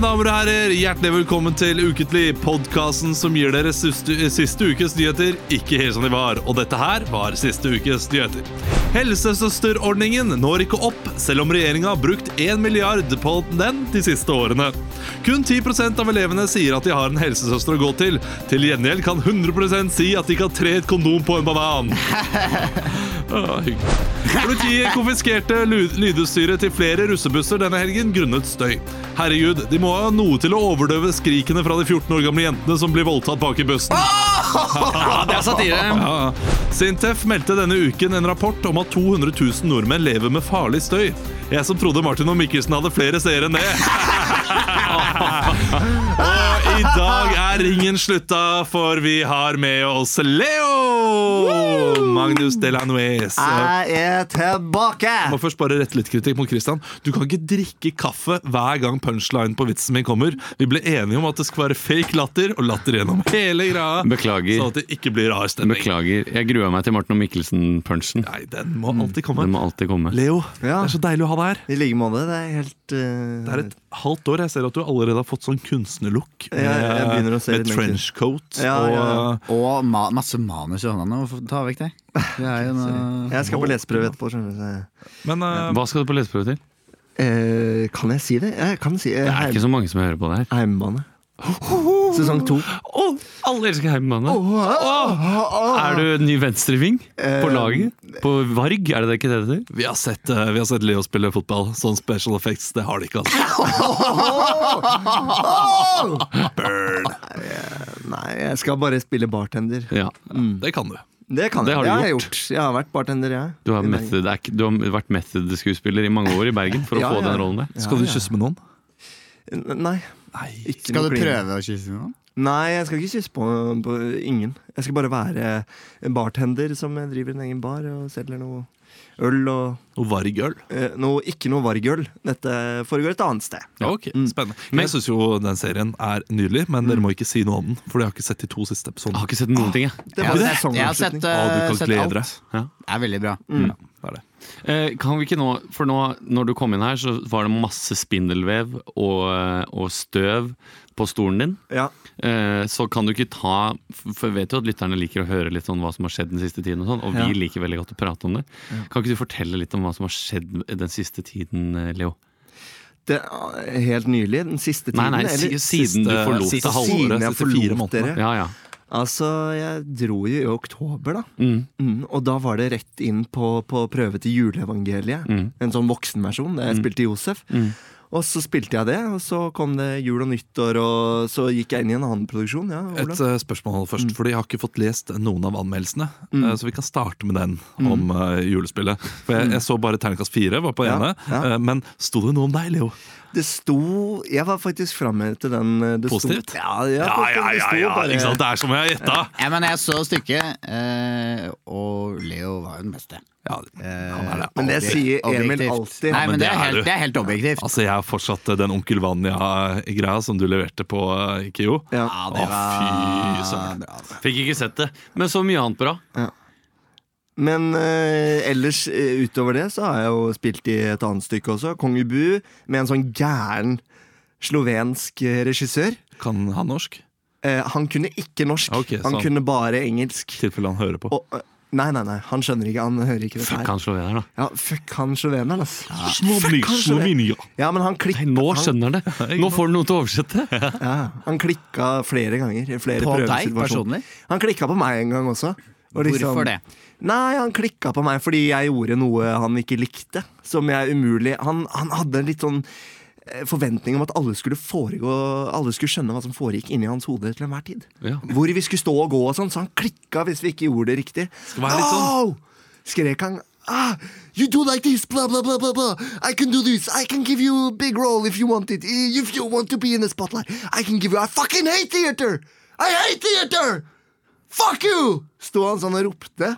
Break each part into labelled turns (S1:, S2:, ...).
S1: damer og herrer, hjertelig velkommen til Uketlig, podkasten som gir dere siste, siste ukes nyheter ikke helt som de var. Og dette her var siste ukes nyheter. Helsesøsterordningen når ikke opp, selv om regjeringa har brukt 1 milliard på den de siste årene. Kun 10 av elevene sier at de har en helsesøster å gå til. Til gjengjeld kan 100 si at de ikke har tre et kondom på en banan. Ah, hyggelig. Politiet konfiskerte lu- lydutstyret til flere russebusser denne helgen grunnet støy. Herregud, de må ha noe til å overdøve skrikene fra de 14 år gamle jentene som blir voldtatt bak i bussen.
S2: Ja, det er satire.
S1: Ja. Sintef meldte denne uken en rapport om at 200 000 nordmenn lever med farlig støy. Jeg som trodde Martin og Mikkelsen hadde flere seere enn det. og i dag er ringen slutta, for vi har med oss Leo! Magnus Delanuez.
S2: Jeg er tilbake!
S1: Jeg må først bare rette litt kritikk mot Christian. Du kan ikke drikke kaffe hver gang punchline på vitsen min kommer. Vi ble enige om at det skal være fake latter og latter gjennom hele greia.
S3: Beklager.
S1: Sånn at det ikke blir rar stemning.
S3: Beklager. Jeg grua meg til Martin og Mikkelsen-punchen.
S1: Nei, den må alltid komme.
S3: Den må alltid komme.
S1: Leo,
S2: Ja.
S1: det er så deilig å ha deg her.
S2: I like måte. Det er helt eh,
S1: Det er et halvt år. Jeg ser at du allerede har fått sånn kunstnerlook.
S2: Ja, jeg
S1: med-
S2: begynner å se
S1: Med
S2: litt mer
S1: trenchcoat
S2: Ja,
S1: og eh,
S2: ja, ja.
S4: Og ma masse manus i hånda nå. Hvorfor Ta vekk det. det er jo noe...
S2: Jeg skal på leseprøve etterpå. skjønner du.
S1: Men eh,
S3: Hva skal du på leseprøve til?
S2: Eh, kan jeg si det? Jeg kan si eh,
S3: Det er
S2: heim,
S3: ikke så mange som hører på det her.
S2: Heimebane. Sesong to.
S3: Åh, alle elsker Heimebane! Er du ny venstreving?
S2: Eh,
S3: På laget? På Varg, er det det ikke det det heter?
S1: vi, har sett, eh, vi har sett Leo spille fotball. Sånn special effects, det har de ikke, altså. Burn.
S2: Nei, jeg skal bare spille bartender.
S3: Ja.
S2: Mm.
S1: Det kan du.
S2: Det kan
S3: Det
S2: jeg.
S3: har du
S2: har jeg gjort. Jeg har vært bartender, jeg.
S3: Du har,
S2: I Bergen.
S3: method, act- du har vært method-skuespiller i mange år i Bergen for å
S2: Ja,
S3: få
S2: ja.
S3: den rollen der.
S1: Skal du kysse med noen?
S2: N- Nei. Ikke
S4: Skal
S2: noe
S4: du
S2: klin.
S4: prøve å kysse noen?
S2: Nei, jeg skal ikke kysse på, på ingen. Jeg skal bare være en bartender som driver en egen bar og selger noe øl og
S1: Og vargøl?
S2: eh, noe, Ikke noe vargøl. Dette foregår et annet sted.
S1: Ja, ok, Spennende. Men jeg syns jo den serien er nydelig, men
S2: Mm.
S1: dere må ikke si noe om den. For jeg har ikke sett de to siste
S3: Jeg
S1: episodene.
S3: har ikke sett noen ting, jeg.
S2: Det sånn
S4: Jeg har
S2: var
S4: sett- jeg har
S2: sesongavslutning.
S4: sett, eh,
S1: Å, du kan
S4: sett
S1: glede
S4: alt.
S1: deg.
S3: Ja.
S4: Det er veldig bra.
S1: Det er det.
S3: Eh, Kan vi ikke nå, for nå, når du kom inn her, så var det masse spindelvev og, eh, og støv på stolen din.
S2: Ja.
S3: Eh, Så kan du ikke ta For jeg vet jo at lytterne liker å høre litt om hva som har skjedd den siste tiden. Og sånn Og vi liker veldig godt å prate om det. Kan ikke du fortelle litt om hva som har skjedd den siste tiden, eh, Leo?
S2: Det, er helt nylig. Den siste
S3: Nei,
S2: tiden.
S3: nei, si-
S2: eller-
S3: siden du forlot
S2: siste-
S3: det
S2: siden
S3: halvåret.
S2: jeg
S1: siste fire månedene.
S2: forlot dere.
S3: Ja, ja.
S2: Altså, jeg dro jo i oktober, da.
S3: Mm.
S2: Mm, og da var det rett inn på, på prøve til juleevangeliet. En sånn voksenversjon der jeg spilte Josef. Og så spilte jeg det, og så kom det jul og nyttår, og så gikk jeg inn i en annen produksjon. Ja,
S1: Et
S2: Olav. Mm.
S1: eh, spørsmål først, fordi jeg har ikke fått lest noen av anmeldelsene. eh, Så vi kan starte med den
S2: Mm.
S1: om eh, julespillet. For jeg, jeg så bare terningkast fire var på
S2: Ja,
S1: ene.
S2: ja.
S1: eh, Men sto det noe om deg, Leo?
S2: Det sto Jeg var faktisk framme til den. eh, Det
S1: Positivt?
S2: Sto, ja, ja, det sto bare-
S1: Ikke sant? Det er som jeg har gjetta!
S4: Ja, men jeg så stykket, eh, og Leo var jo den beste.
S1: Ja, han er det.
S2: Men det sier Emil
S4: Objektivt.
S2: alltid.
S4: Nei, men det
S1: det
S4: er
S1: er
S4: helt,
S1: du.
S4: det er helt objektivt.
S1: Altså, jeg har fortsatt eh, den onkel Vanja-greia som du leverte på eh, KIO.
S2: Ja.
S4: Ja,
S1: Å, fy
S4: det var
S1: søren.
S4: bra. altså.
S3: Fikk ikke sett det. Men så mye annet bra.
S2: Men eh, ellers, eh, utover det, så har jeg jo spilt i et annet stykke også. Kong Ubu, med en sånn gæren slovensk eh, regissør.
S1: Kan han norsk?
S2: Eh, han kunne ikke norsk.
S1: Ok,
S2: han
S1: sånn.
S2: kunne bare engelsk.
S1: I tilfelle han hører på.
S2: Og, eh, nei, nei, nei, han skjønner ikke. Han hører ikke dette
S3: Fuck
S2: her.
S3: han slovener, da.
S2: Ja, fuck han sloveneren, ass.
S1: Slovenia,
S2: fuck, han skjønner.
S1: Slovenia.
S2: Ja, men han, klik
S3: Nei, nå skjønner han det! Nå får han noe til å oversette!
S2: ja, han klikka flere ganger. i Flere
S4: På deg
S2: prøvesituasjoner.
S4: personlig?
S2: Han klikka på meg en gang også. Og liksom-
S4: Hvorfor det?
S2: Nei, han klikka på meg fordi jeg gjorde noe han ikke likte. Som jeg umulig Han, han hadde en litt sånn eh, forventning om at alle skulle foregå Alle skulle skjønne hva som foregikk inni hans hode til enhver tid.
S3: Ja.
S2: Hvor vi skulle stå og gå og sånn, så han klikka hvis vi ikke gjorde det riktig.
S1: være litt sånn.
S2: No! Skrek han. Ah, you do like this, blah, blah, blah, blah, blah. I can do this. I can give you a big role if you want it. If you want to be in the spotlight, I can give you I fucking hate theater! I hate theater! Fuck you! Sto han sånn og ropte.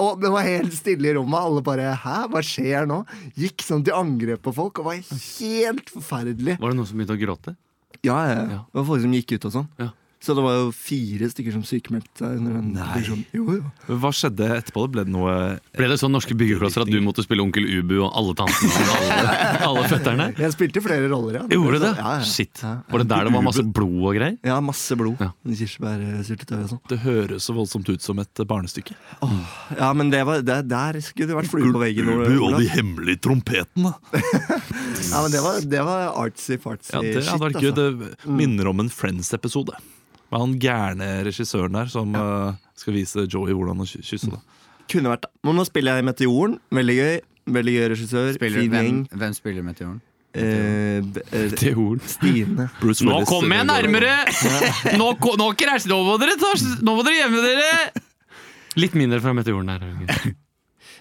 S2: Og det var helt stille i rommet. Alle bare Hæ, hva skjer nå? Gikk sånn til angrep på folk og var helt forferdelig.
S3: Var det noen som begynte å gråte?
S2: Ja, ja, ja. Det var folk som gikk ut og sånn.
S3: Ja.
S2: Så det var jo fire stykker som sykemeldte seg. Under den
S1: Nei.
S2: produksjonen. Jo, jo.
S1: Hva skjedde etterpå? Det ble det noe
S3: Ble det sånn norske byggeklosser at du måtte spille onkel Ubu og alle tantene og alle, alle fetterne?
S2: Jeg spilte flere roller, ja.
S3: Gjorde du det?
S2: Ja, ja.
S3: Shit. Var det der det var masse blod og greier?
S2: ja masse blod.
S3: Ja.
S2: Kirsebærsyltetøy og sånn.
S1: Det høres så voldsomt ut som et barnestykke.
S2: Ja, men det var, det, der skulle du vært flue på veggen. Olav.
S1: hemmelige trompetene.
S2: Ja, men det var, det var artsy-fartsy
S1: Ja, det hadde vært
S2: altså.
S1: gøy.
S2: Mm.
S1: Det minner om en Friends-episode. Med han gærne regissøren der som eh, skal vise Joey hvordan å ky-
S2: Mm.
S1: kysse. Da.
S2: Kunne vært det. Men nå spiller jeg i Meteoren. Veldig gøy. Veldig gøy regissør.
S4: Spiller,
S2: fin gjeng.
S4: hvem, hvem spiller Meteoren?
S2: Eh, b- eh,
S3: Til horn.
S2: Stine.
S1: Bruce
S3: Nå
S1: Willis- eh,
S3: kommer jeg nærmere! Nå, ko- nå, krasj- nå, må dere ta, nå må dere gjemme dere! Litt mindre fra meteoren her.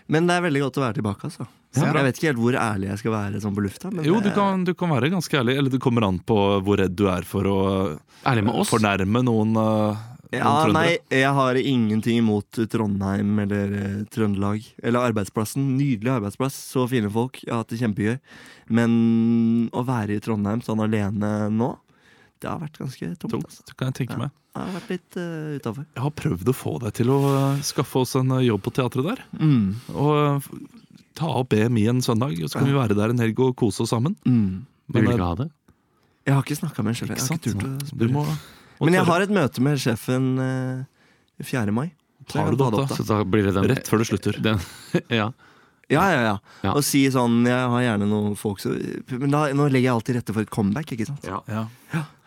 S2: Men det er veldig godt å være tilbake, altså. Så jeg vet ikke helt hvor ærlig jeg skal være sånn på lufta. Men
S1: Jo,
S2: det-
S1: du kan, du kan være ganske ærlig. Eller det kommer an på hvor redd du er for å
S3: Ærlig med oss.
S1: fornærme noen, uh,
S2: Ja,
S1: noen
S2: nei, jeg har ingenting imot Trondheim eller eh, Trøndelag. Eller arbeidsplassen. Nydelig arbeidsplass. Så fine folk. Jeg har hatt det kjempegøy. Men å være i Trondheim sånn alene nå, det har vært ganske tomt.
S1: Tungt,
S2: Altså.
S1: det kan jeg tenke meg.
S2: Jeg har vært litt uh, utafor.
S1: Jeg har prøvd å få deg til å eh, skaffe oss en eh, jobb på teatret der.
S2: Mm.
S1: Og eh, f- ta opp BMI en søndag, og så kan vi være der en helg og kose oss sammen.
S2: Mm.
S3: Vi vil
S1: eh,
S3: ikke ha det.
S2: Jeg har ikke snakka med sjefen.
S1: ikke
S2: Jeg har
S1: sant?
S2: ikke turt å
S1: Du
S2: spørre.
S1: må, må
S2: Men jeg
S1: tørre.
S2: har et møte med sjefen eh, 4. mai. Så jeg
S1: Tar
S2: kan
S1: du
S2: ta
S1: det opp, da?
S3: Så da blir det den
S1: Rett før det slutter.
S3: Den, ja.
S2: Ja, ja, ja,
S3: Ja.
S2: Og si sånn Jeg har gjerne noen folk som Men da, nå legger jeg alltid rette for et comeback, ikke sant?
S1: Ja.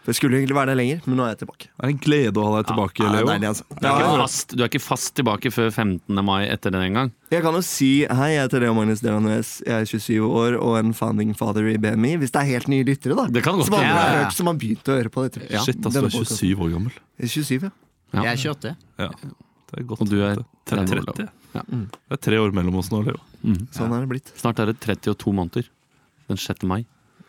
S2: For jeg skulle egentlig være der lenger, men nå er jeg tilbake.
S1: Det er en glede å ha deg tilbake,
S2: Ja, det er
S1: Leo.
S2: deilig, altså.
S3: Du, er
S2: Ja,
S3: ikke
S2: ja.
S3: fast, du er ikke fast tilbake før 15. mai etter den engang.
S2: Jeg kan jo si hei, jeg heter Leo Magnus Delanues, jeg er 27 år og en founding father i BMI. Hvis det er helt nye lyttere, da.
S3: Det kan godt
S2: som, aldri
S3: hende.
S2: har
S4: Ja, ja.
S2: hørt, som har begynt å høre på dette.
S1: Shit, altså, du
S2: Denne
S1: er
S2: podcasten.
S1: 27 år gammel.
S2: Jeg er 27, ja.
S3: Ja.
S4: Jeg er 28.
S1: Ja, det er godt.
S3: Og du er
S1: Det er
S3: 30.
S1: 30.
S3: Ja.
S1: Det er tre år mellom oss nå, Leo.
S2: Sånn er det blitt.
S3: Snart er det 30 og to måneder. Den 6. mai.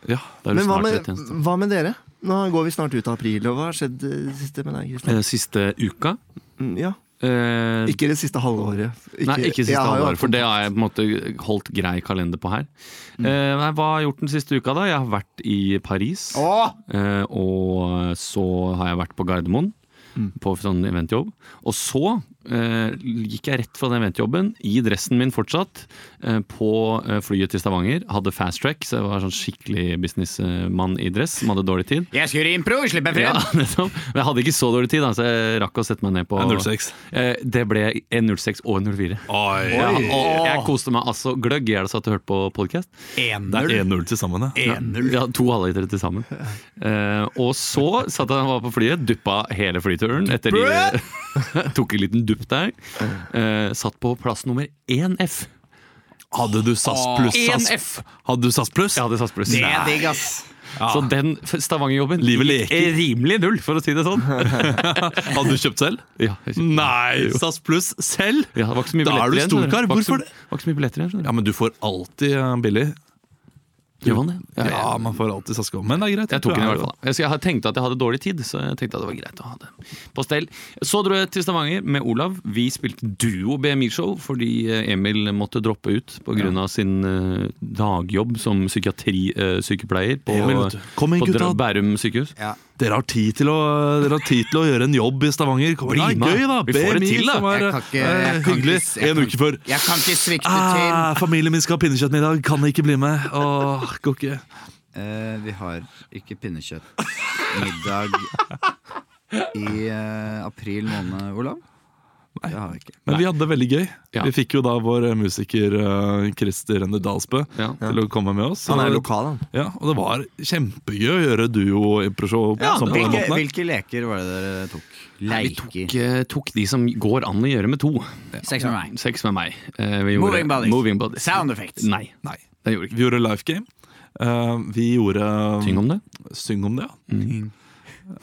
S1: Ja.
S3: Da er du
S2: Men hva med,
S3: snart 30.
S2: hva med dere? Nå går vi snart ut av april, og hva har skjedd eh, det siste med deg, Kristian?
S3: Eh, Siste uka
S2: Mm, Ja.
S3: eh,
S2: Ikke det siste halve året.
S3: Nei, ikke siste
S2: jeg har jo
S3: halvår,
S2: hatt
S3: for
S2: kontakt.
S3: det
S2: Mm.
S3: har jeg på en måte holdt grei kalender på her. Eh, nei, hva har jeg gjort den siste uka, da? Jeg har vært i Paris. Eh, og så har jeg vært på Gardermoen.
S2: Mm.
S3: På sånn eventjobb. Og så eh, gikk jeg rett fra den eventjobben, i dressen min fortsatt, eh, på eh, flyet til Stavanger. Hadde fast track, så jeg var sånn skikkelig businessmann i dress. Som hadde dårlig tid.
S4: Jeg skulle i impro, slipp meg
S3: Ja,
S4: frem!
S3: nettopp. Men jeg hadde ikke så dårlig tid, da, så jeg rakk å sette meg ned på
S1: 06.
S3: Eh, det ble 1.06 og 1.04. Ja, og jeg koste meg altså gløgg i hjel så at jeg hørte på podkast.
S1: Det
S4: 1-0.
S1: er 1-0 til sammen, ja.
S3: Ja, to halvlitere til sammen. Eh, og så satt jeg var på flyet, duppa hele flyturen. Etter de, tok en liten dupp der. Eh, satt på plass nummer 1F.
S1: Hadde du SAS pluss SAS?
S3: 1F!
S1: Hadde du SAS pluss?
S3: Jeg hadde SAS pluss.
S4: Det er digg, ass.
S3: Så den f- Stavanger-jobben
S1: Livet
S3: gikk
S1: leker.
S3: rimelig null, for å si det sånn.
S1: Hadde du kjøpt selv?
S3: Ja, ja,
S1: Nei! SAS pluss selv?
S3: det var ikke så mye
S1: Da er du
S3: billetter igjen. skjønner
S1: storkar,
S3: Var ikke så-
S1: hvorfor det?
S3: Var ikke så mye billetter igjen. skjønner
S1: Ja, men du får alltid eh, billig.
S3: du. Gjør man det? Ja, ja.
S1: Ja, man får alltid SAS-gå. Men det er greit.
S3: Jeg tok
S1: tror
S3: den i
S1: er
S3: hvert fall. da. Jeg- Jeg tenkte at jeg hadde dårlig tid, så jeg tenkte at det var greit å ha det på stell. Så dro jeg til Stavanger med Olav. Vi spilte duo BMI-show fordi eh, Emil måtte droppe ut pga. av sin eh, dagjobb som psykiatrisykepleier på,
S1: Ja, vet du. Kom igjen,
S3: på Dra-
S1: gutta.
S3: Bærum sykehus.
S1: Dere har tid til å, dere har tid til å gjøre en jobb i Stavanger. Kom,
S3: Bli
S1: det er
S3: med.
S1: gøy, da!
S3: Vi får det
S1: BMI
S3: til, da.
S1: som er
S4: Jeg kan ikke-
S1: eh,
S4: jeg kan
S1: hyggelig
S4: ikke- jeg
S1: en
S4: kan-
S1: uke før.
S4: Jeg kan ikke svikte til.
S1: Ah, familien min skal ha pinnekjøttmiddag, kan ikke bli med. Åh, går ikke.
S4: Eh, vi har ikke pinnekjøttmiddag i eh, april måned, Olav. Nei. Det har vi ikke.
S1: Men vi hadde det veldig gøy.
S3: Ja.
S1: Vi fikk jo da vår eh, musiker eh, Christer Render Dalsbø
S3: Ja.
S1: til å komme med oss.
S2: Han er
S1: Og-
S2: lokal, han.
S1: Ja, og det var kjempegøy å gjøre duo og improshow.
S3: Ja,
S1: sånn på den
S4: Hvilke,
S1: måten her.
S4: hvilke leker var det dere tok?
S3: Nei, Vi tok, eh, tok de som går an å gjøre med to.
S4: Sex med meg.
S3: Seks med meg. Eh, vi gjorde-
S4: Moving Bodies.
S3: Moving bodies.
S4: Sound effects.
S3: Nei,
S1: Nei.
S3: det gjorde vi ikke.
S1: Vi gjorde Life Game. Eh, vi gjorde
S3: Syng om det.
S1: Syng om det, ja.
S3: Mm.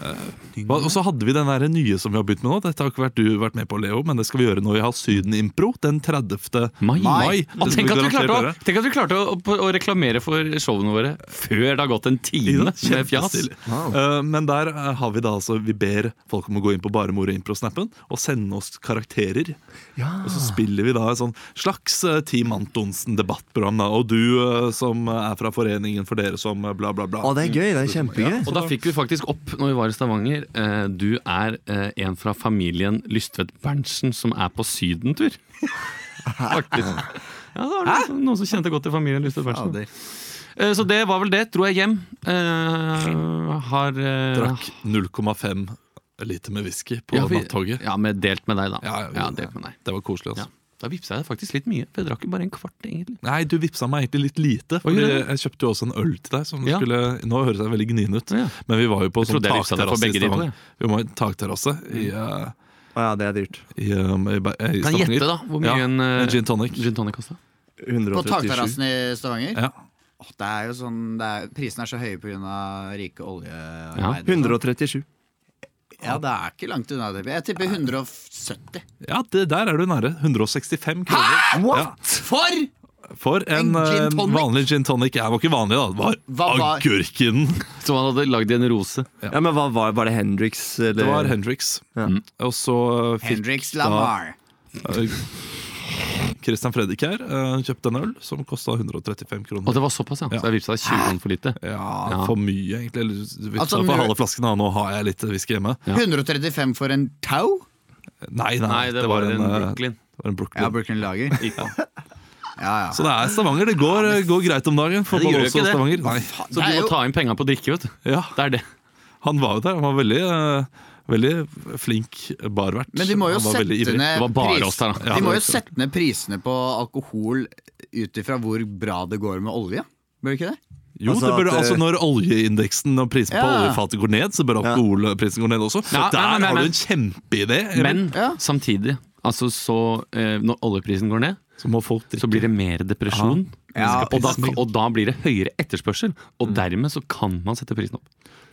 S1: Eh, hva- og så hadde vi den der nye som vi har begynt med nå. Dette har ikke vært du vært med på, Leo, men det skal vi gjøre når vi har Syden-impro den 30.
S3: Mai.
S1: mai.
S3: Og
S1: Det skal
S3: tenk, at vi
S1: garantert
S3: klarte å,
S1: gjøre.
S3: tenk at vi klarte å, å, å reklamere for showene våre før det har gått en time med Mm, fjas.
S1: Kjempestilig. Eh, men der eh, har vi da altså Vi ber folk om å gå inn på Bare moro impro-snappen og sende oss karakterer. Og så spiller vi da et sånn slags eh, Team Antonsen-debattprogram. da Og du eh, som er fra Foreningen for dere som eh, bla, bla, bla.
S2: Å, det er gøy. Det er kjempegøy.
S3: Og da fikk vi faktisk opp når når vi var i Stavanger. eh, Du er eh, en fra familien Lystvedt Berntsen som er på sydentur. Faktisk. Ja, da var det liksom noen som kjente godt til familien Lystvedt Berntsen.
S4: Fader.
S3: Eh, Så det var vel det. Dro jeg hjem. Eh, har eh,
S1: Drakk 0,5 liter med whisky på
S3: ja, for-
S1: nattoget.
S3: Ja, men delt med deg, da.
S1: Ja, ja, vi-
S3: delt med deg.
S1: Det var koselig. altså.
S3: Ja. Da vippsa jeg faktisk litt mye, for jeg drakk jo bare en kvart, egentlig.
S1: Nei, du vippsa meg egentlig litt lite.
S3: Oi,
S1: Fordi
S3: ja.
S1: jeg kjøpte jo også en øl til deg. Som du
S3: Ja.
S1: skulle, nå høres jeg veldig gnien ut,
S3: Ja.
S1: men vi var jo på
S3: Jeg
S1: sånn
S3: trodde jeg vippsa deg for
S1: takterrasse i
S3: begge de to, Mm.
S1: Stavanger. Vi var på takterrasse i, eh,
S5: Å ja, det er dyrt.
S1: i, um, i, Ber- eh, i
S3: Kan jeg
S1: Stavanger.
S3: gjette, da, hvor mye
S1: ja,
S3: en, eh,
S1: gin tonic.
S3: Gin tonic kosta?
S4: På
S5: 137.
S4: takterrassen i Stavanger?
S1: Ja.
S4: Åh, det er jo sånn, det er, Prisene er så høye pga. rike
S3: Ja.
S4: oljearbeidere.
S5: 137.
S4: Ja, det er ikke langt unna. det. Jeg tipper 170.
S1: ja, det der er du nære. 165 kroner.
S5: What?!
S4: For!
S1: Ja, for en,
S4: En gin
S1: eh,
S4: tonic?
S1: vanlig gin tonic. Jeg var ikke vanlig, da. Det
S4: Hva
S1: var
S4: var-
S1: agurken.
S3: Som han hadde lagd i en rose.
S5: Ja, men hva var, var det Hendrix? Eller?
S1: Det var Hendrix. Mm.
S5: Ja.
S1: Og så eh, fikk
S4: Hendrix
S1: da-
S4: Lamar.
S1: eh, Christian Fredrik her eh, kjøpte en øl som kosta 135
S3: Og
S1: kroner.
S3: det var såpass, ja. Så jeg vippsa deg 20 kroner for lite.
S1: Ja,
S3: Ja.
S1: for mye, egentlig. Eller, vi
S4: Altså,
S1: tar for
S4: nu-
S1: halve flasken, da. Nå har jeg litt whisky hjemme.
S3: Ja.
S4: 135 for en tau?
S1: Nei, nei,
S3: Nei, det var en
S1: eh,
S3: Brooklyn.
S1: det var en Brooklyn.
S4: Ja, Brooklyn Lager. Ja, ja.
S1: Så det er Stavanger. Det går, eh, går greit om dagen for
S3: Nei, det
S1: både
S3: gjør
S1: oss og
S3: jo
S1: Stavanger. Nei.
S3: Så
S4: Det
S3: du
S4: er
S3: må
S4: jo-
S3: ta inn penga på drikke, vet du.
S1: Ja,
S3: Det er det.
S1: han var jo der. Han var veldig, eh, veldig flink barvert.
S4: Men de må jo
S1: han var
S4: sette
S1: veldig ivrig.
S3: Det
S4: ned,
S3: var bare
S4: pris-
S3: oss der, da.
S1: Ja,
S4: de må
S1: det
S4: jo
S1: var-
S4: sette ned prisene på alkohol ut ifra hvor bra det går med olje. Bør ikke det?
S1: Jo,
S5: Altså
S1: det burde,
S5: at, eh,
S1: altså Når oljeindeksen og prisen på
S4: Ja.
S1: oljefatet går ned, så bør alkoholprisen gå ned også.
S3: Ja,
S1: Der
S3: men, men,
S1: har du
S3: men.
S1: en kjempeidé! Emil.
S3: Men
S4: Ja.
S3: samtidig, altså så eh, Når oljeprisen går ned,
S1: så må folk drikke.
S3: så blir det mer depresjon.
S4: Ja,
S3: og, da, og da blir det høyere etterspørsel, og dermed så kan man sette prisen opp.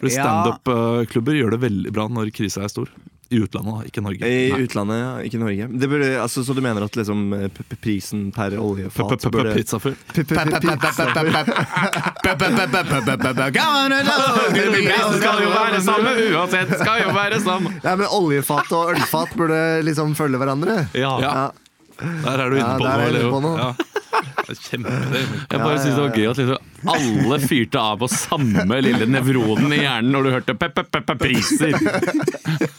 S1: Fordi Standup-klubber eh, gjør det veldig bra når krisa er stor. I utlandet, da, ikke Norge.
S5: I utlandet, ja. Ikke Norge. Det burde, altså, så du mener at liksom, eh, p- p- prisen per oljefat burde
S1: Pizzafyr.
S5: P- p- p- p-
S3: Prisen skal jo være samme uansett! Skal jo være samme!
S5: Nei, men Oljefat og ølfat burde liksom følge hverandre.
S3: Ja.
S1: Ja,
S5: Ja.
S1: der er du inne
S5: Ja,
S1: på
S5: der er
S1: noe.
S5: jeg inne
S1: Leo.
S5: på noe.
S1: Ja. Det er Kjempeidé. Emil.
S3: Jeg bare synes det var gøy at liksom alle fyrte av på samme lille nevroden i hjernen når du hørte pe-pe-pe-priser.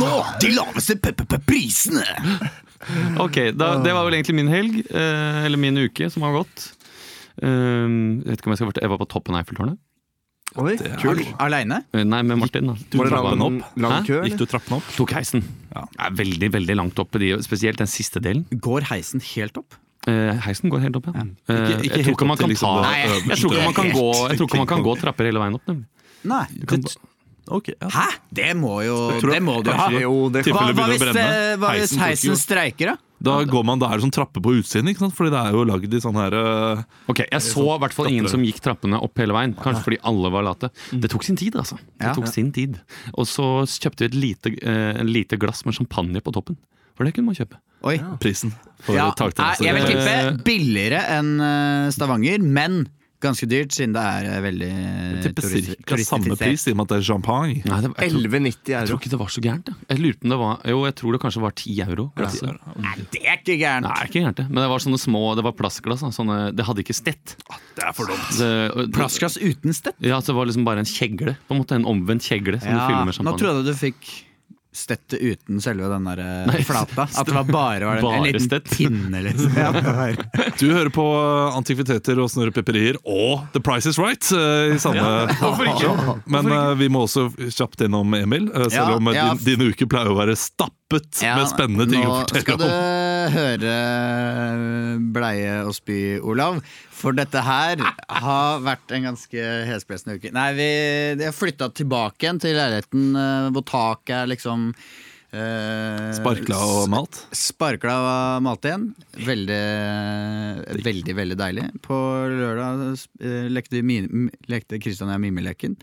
S4: Nå! De laveste prisene!
S3: Ok, da, Det var vel egentlig min helg, eh, eller min uke, som har gått. Um, jeg vet ikke om jeg skal fortelle Jeg var på toppen av Eiffeltårnet.
S5: Oi, kult.
S4: Aleine?
S3: Eh, Nei, med Martin. da
S5: Var det
S1: trappa den
S5: lang,
S1: opp?
S5: lang
S3: Hæ?
S5: kø?
S1: Gikk
S5: eller?
S1: du trappene opp?
S3: Tok heisen.
S1: Ja.
S3: Er veldig veldig langt opp, de, spesielt den siste delen.
S4: Går heisen helt opp?
S3: Eh, heisen går helt opp, ja. Eh,
S1: Ikke- ikke
S3: jeg
S1: helt
S3: tror ikke
S1: opp
S3: man
S1: til
S3: kan
S1: liksom
S3: ta
S1: det
S3: Nei,
S1: øverste.
S3: Jeg tror ikke man kan gå Jeg tror ikke man kan
S1: Helt
S3: gå trapper hele veien opp, nemlig.
S4: Nei.
S1: kan
S4: Det,
S1: Ok, ja.
S4: hæ? Det må jo Det må du ha.
S1: Kanskje-
S5: Jo, det
S1: Tilfelle
S4: Hva,
S1: det
S4: hva,
S1: begynner
S4: hvis,
S1: å
S4: eh,
S1: brenne.
S4: hva hvis
S1: Heisen tok jo-
S4: heisen streiker, da?
S1: Da går man, da er det sånn trappe på utsiden, ikke sant? Fordi det er jo lagd i sånn her eh,
S3: Ok, Jeg så i hvert fall ingen som gikk trappene opp hele veien. Kanskje fordi alle var late. Det tok sin tid, altså. Det
S4: Ja.
S3: tok sin tid Og så kjøpte vi et lite, eh, lite glass med champagne på toppen. For det kunne man kjøpe.
S4: Oi.
S1: prisen. for
S4: Ja, nei,
S1: takterrasse.
S4: jeg vil
S1: Eh,
S3: Eh,
S4: tippe billigere enn eh, Stavanger, men ganske dyrt, siden det er eh, veldig
S1: jeg
S4: eh,
S1: tipper
S4: turist-
S1: cirka samme pris, i og med at det er champagne.
S3: Nei, det, jeg, tror,
S5: 11,90
S3: jeg
S5: euro.
S3: tror ikke det var så gærent. Jeg. jeg lurte om det var Jo, jeg tror det kanskje var 10 euro. Glasset.
S4: Nei, det er ikke gærent!
S3: Nei, ikke gærent. det. Men det var sånne små Det var plastglass. da, Sånne, det hadde ikke stett.
S1: Det er for dumt.
S3: Det-
S4: Plastglass uten stett?
S3: Ja, så det var liksom bare en kjegle. På en måte en omvendt kjegle som du fyller med
S4: nå
S3: champagne.
S4: trodde jeg du fikk stettet uten selve den der eh,
S3: Nei,
S4: flata. At det var bare var det, en
S3: bare
S4: liten
S3: stett.
S4: pinne, liksom. Ja, bare.
S1: Du hører på Antikviteter og Snurrepepperier og The Price Is Right eh, i samme show. Men eh, vi må også kjapt innom Emil, eh, selv
S4: Ja,
S1: om eh,
S4: ja.
S1: din, dine uker pleier å være stappet
S4: Ja,
S1: med spennende ting å
S4: Nå skal
S1: fortelle
S4: du
S1: om.
S4: høre eh, bleie og spy, Olav. For dette her har vært en ganske hesblesende uke. Nei, vi, jeg flytta tilbake igjen til leiligheten eh, hvor taket er liksom eh,
S1: Sparkla og malt.
S4: Sparkla og malt igjen. Veldig, veldig veldig deilig. På lørdag eh, lekte, vi mi- m- lekte Kristian og jeg mimeleken.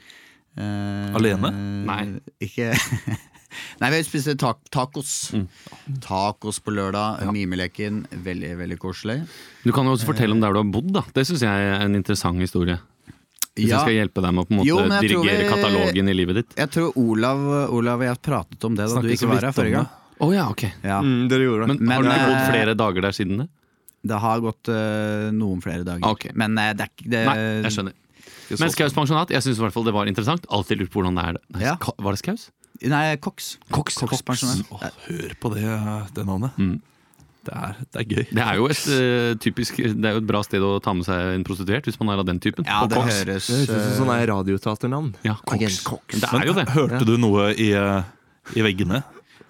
S4: Eh,
S1: Alene?
S3: Nei.
S4: Ikke Nei, vi spiste ta tacos. Tacos på lørdag. Mimeleken. Veldig, veldig koselig.
S3: Du kan jo også fortelle om der du har bodd. da Det syns jeg er en interessant historie. Hvis
S4: Ja,
S3: jeg skal hjelpe deg med å på en måte
S4: Jo, men jeg tror
S3: dirigere
S4: vi-
S3: katalogen i livet ditt.
S4: jeg tror Olav, Olav og jeg pratet om det da
S1: Snakket
S4: du ikke
S1: så vidt
S4: var her forrige
S1: om
S4: gang.
S3: Å ja, ok
S4: Ja.
S5: Mm, dere gjorde det.
S3: men, har du ikke
S4: eh,
S3: bodd flere dager der siden det?
S4: Det har gått eh, noen flere dager.
S3: Ok.
S4: Men eh, det er ikke det,
S3: Nei, jeg skjønner.
S1: Ikke så
S3: Men Skaus pensjonat, jeg syns i hvert fall det var interessant. Alltid lurt på hvordan det er det. Nei,
S4: Ja.
S3: Ska- Var det Skaus?
S4: Nei, Cox. Cox, pensjonat.
S1: Åh, hør på det, eh, det navnet.
S3: Mm.
S1: Det, er, det er gøy.
S3: Det er jo et eh, typisk Det er jo et bra sted å ta med seg en prostituert, hvis man er av den typen.
S4: Ja,
S3: På
S4: det
S3: Cox.
S4: høres
S2: Det høres ut
S4: eh,
S2: som sånn radioteaternavn.
S3: Ja, Cox.
S2: Agent Cox.
S3: Det er jo det.
S1: Hørte du noe i, eh, i veggene?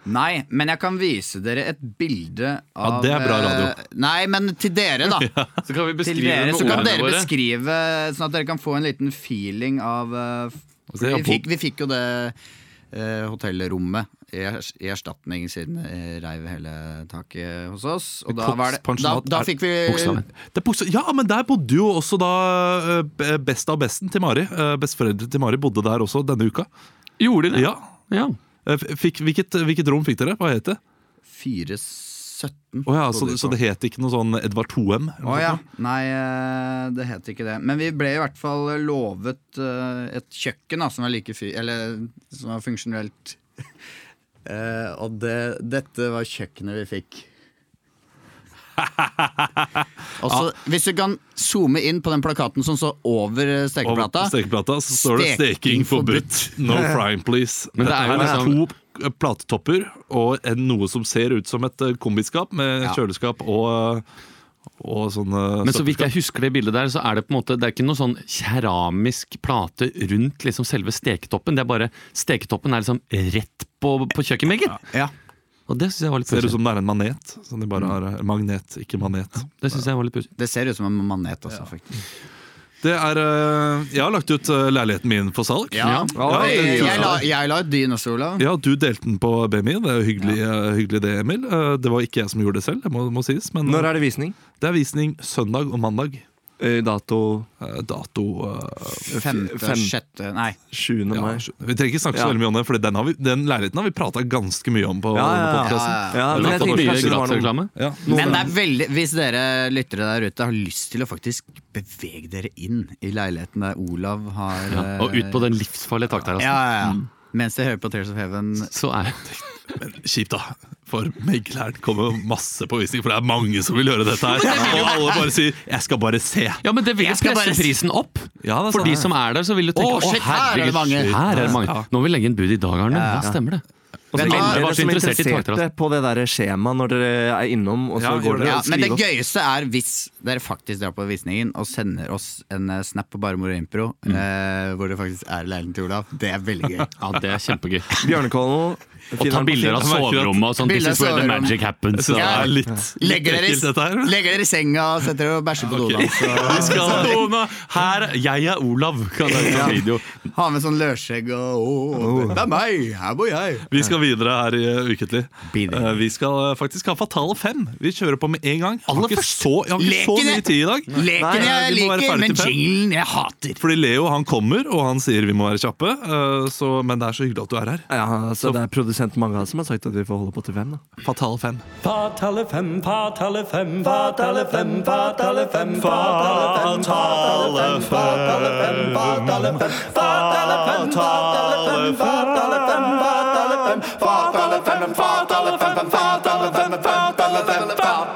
S4: Nei, men jeg kan vise dere et bilde av
S1: det er bra radio.
S4: eh, Nei, men til dere, da.
S3: Så kan vi
S4: Til
S3: beskrive
S4: dere,
S3: det
S4: så
S3: med
S4: kan
S3: ordene
S4: dere
S3: våre.
S4: beskrive, sånn at dere kan få en liten feeling av eh,
S1: se,
S4: vi,
S1: jeg
S4: fikk, vi fikk jo det eh, hotellrommet i, ers- i erstatning siden eh, reiv hele taket hos oss. Og da,
S1: Cox
S4: var det, da,
S1: pensjonat
S4: da
S1: er-
S4: fikk vi
S3: Bokstaven.
S1: Det er bokstav- ja, men der bodde jo også da eh, b- best av besten til Mari. Eh, Besteforeldre til Mari bodde der også denne uka.
S3: Gjorde de det?
S1: Ja.
S3: Ja.
S1: Eh, f- Fikk, hvilket, hvilket rom fikk dere? Hva het det?
S4: 417.
S1: Å ja, så, så det het ikke noe sånn Edvard Toem? eller
S4: Å
S1: noe
S4: ja.
S1: sånt?
S4: Nei, eh, det het ikke det. Men vi ble i hvert fall lovet eh, et kjøkken da, som var like fy... Eller som var funksjonelt. Eh, og det, dette var kjøkkenet vi fikk. Og så, Hvis du kan zoome inn på den plakaten som står over eh,
S1: Og på
S4: stekeplata.
S1: stekeplata så står det 'steking
S4: Steking
S1: forbudt'. No frying, please.
S3: Men det
S1: Dette
S3: er jo
S1: her
S3: liksom-
S1: to platetopper og en- noe som ser ut som et eh, kombiskap med
S4: Ja.
S1: kjøleskap og, og sånn eh,
S3: Men så
S1: søppelskap.
S3: vidt jeg husker det bildet der, så er det på en måte Det er ikke noe sånn keramisk plate rundt liksom selve steketoppen. Det er bare Steketoppen er liksom rett på, på kjøkkenbenken.
S4: Ja.
S3: Og det syns jeg var litt
S1: Ser ut
S3: pussig.
S1: som det er en manet. Som de bare har eh, Magnet, ikke manet.
S3: Det synes jeg var litt pussig.
S4: Det ser ut som en manet, altså. faktisk
S1: Det er eh, Jeg har lagt ut eh, leiligheten min for salg. Ja,
S4: Ja.
S1: det
S4: jeg,
S1: gjør
S4: jeg,
S1: det.
S4: la, jeg la ut din også, Olav.
S1: Ja, du delte den på BMI. Det er jo hyggelig, eh, hyggelig det, Emil. Eh, Det var ikke jeg som gjorde det selv, det må, må sies. Men eh,
S2: Når er det visning?
S1: det er visning søndag og mandag.
S2: Eh, Dato
S1: Eh, Dato eh,
S4: Femte,
S2: Fem-
S4: sjette Nei.
S2: 7.
S1: ja,
S2: mai.
S1: skjønner. Vi trenger ikke snakke så
S2: Ja.
S1: veldig mye om det, for den, har vi, den leiligheten har vi prata ganske mye om på
S2: Ja, ja, ja.
S1: podcasten.
S2: Ja,
S3: Det
S2: men
S3: var
S2: jeg tenkte
S3: mye
S2: kanskje det var noen
S3: gratisreklame.
S1: Ja.
S4: Men det er veldig, hvis dere lyttere der ute har lyst til å faktisk bevege dere inn i leiligheten der Olav har eh,
S3: Ja. Og ut på den livsfarlige
S4: Ja,
S3: takterrassen.
S4: ja, ja.
S1: Mm.
S4: Mens dere hører på Tears of Heaven.
S3: Så er
S1: Kjipt, da. For megleren kommer jo masse på visning, for det er mange som vil høre dette her. Og alle bare sier 'jeg skal bare se'.
S3: Ja, men det vil
S4: Jeg skal
S3: presse
S4: bare-
S3: prisen opp.
S1: Ja, altså. det er
S3: For
S1: sant.
S3: de som er der, så vil du tenke
S4: Å, shit, her er det mange.
S3: Her er det mange. Nå vil vi legge inn bud i dag, Arne. Ja, stemmer det. alle
S4: Men da-
S3: var
S2: Dere
S3: så
S2: som er
S3: interessert i
S2: interesserte
S3: takterrassen.
S2: på det der skjemaet når dere er innom, og så
S1: Ja, gjør
S2: går
S1: det.
S2: dere
S4: Ja,
S2: og
S4: men det
S2: skriver opp.
S4: gøyeste er hvis dere faktisk drar på visningen og sender oss en eh, snap på Bare Moro Impro
S1: Mm.
S4: eh, hvor det faktisk er i leiligheten til Olav. Det er veldig gøy.
S3: Ja, det er kjempegøy.
S2: Bjørnekollen
S3: Og ta bilder av soverommet og sånn.
S4: Bilder
S3: This is where the
S4: soverommet.
S3: magic happens.
S1: Jeg synes det
S4: Ja.
S1: er litt, litt
S4: Legger dere,
S1: ekkelt, dette her.
S4: i- legger dere i senga og setter dere og bæsjer på
S1: Ok.
S4: okay.
S1: Vi
S4: dodaen.
S1: skal-
S3: Her, jeg er Olav, kan jeg ta video.
S4: så Ha med sånn løsskjegg og «Å,
S1: Oh.
S4: Det er meg! Her bor jeg!
S1: Vi skal videre her i eh, Uketlig.
S4: Bidra.
S1: Eh, Vi skal eh, faktisk ha Fatale 5. Vi kjører på med en gang. Jeg har
S4: Aller
S1: ikke
S4: først.
S1: så, jeg har ikke så
S4: Leken,
S1: mye
S4: jeg-
S1: tid i dag. Nei,
S4: Leken jeg
S1: vi må være
S4: liker,
S1: ferdig
S4: men
S1: til fem.
S4: jinglen jeg hater.
S1: Fordi Leo han kommer, og han sier vi må være kjappe. eh, Så, men det er så hyggelig at du er her.
S2: Ja, så det er produsent Manga som har sagt at vi får holde på til fem, da.
S1: Fatale 5.
S6: Fatale fem, fatale fem, fatale fem, fatale fem, fatale fem, fatale fem, fatale fem, fatale fem, fatale fem, fatale fem, fatale fem, fatale fem, fatale fem, fatale fem, fatale fem, fatale fem, fatale fem.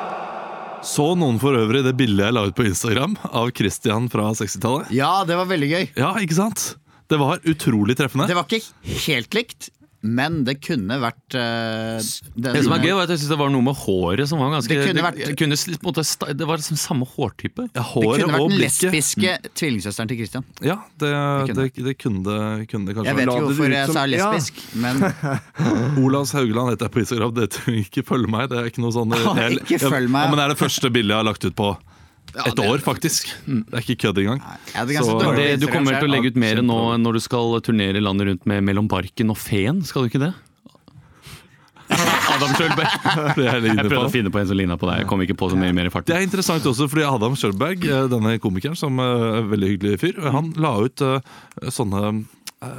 S1: Så noen for øvrig det bildet jeg la ut på Instagram av Christian fra 60-tallet.
S4: Ja, det var veldig gøy.
S1: Ja, ikke sant? Det var utrolig treffende.
S4: Det var ikke helt likt, men det kunne vært eh, den-
S3: Det som er gøy, var at jeg synes det var noe med håret som var ganske
S4: Det kunne
S3: Det,
S4: vært-
S3: kunne s- på en måte sta- det var liksom samme hårtype.
S1: Ja,
S4: Det
S1: håret
S4: kunne vært
S1: og
S4: den
S1: blikket.
S4: lesbiske tvillingsøsteren til Christian.
S1: Ja, det,
S4: Det
S1: det,
S4: kunne.
S1: det kunne det kunne det kanskje
S4: Jeg vet
S2: la
S4: ikke
S2: det ut
S4: hvorfor jeg
S2: som-
S4: sa
S2: Ja.
S4: lesbisk, men
S1: Olavs Haugland heter jeg på Instagram. Det trenger ikke følge meg. Det er ikke noe sånn
S4: Å,
S1: jeg-
S4: ikke følg meg.
S1: Ja, men det er det første bildet jeg har lagt ut på et
S4: det- Mm.
S1: år, faktisk. Det er ikke kødd engang.
S4: jeg hadde ganske
S1: Så-
S4: dårlig
S3: Det, du
S4: Instagram
S3: kommer
S4: selv.
S3: til å legge ut mer nå når du skal turnere landet rundt med Mellom barken og Feen, skal du ikke det? Adam Sjølberg.
S1: Det er jeg litt
S3: Jeg
S1: inne
S3: prøvde å
S1: på.
S3: finne på en som ligna på deg. Jeg kom ikke på så mye mer i
S1: Det
S3: farten.
S1: er interessant også, fordi Adam Sjølberg, eh, denne komikeren, som eh, er en veldig hyggelig fyr, eh, han la ut eh, sånne eh,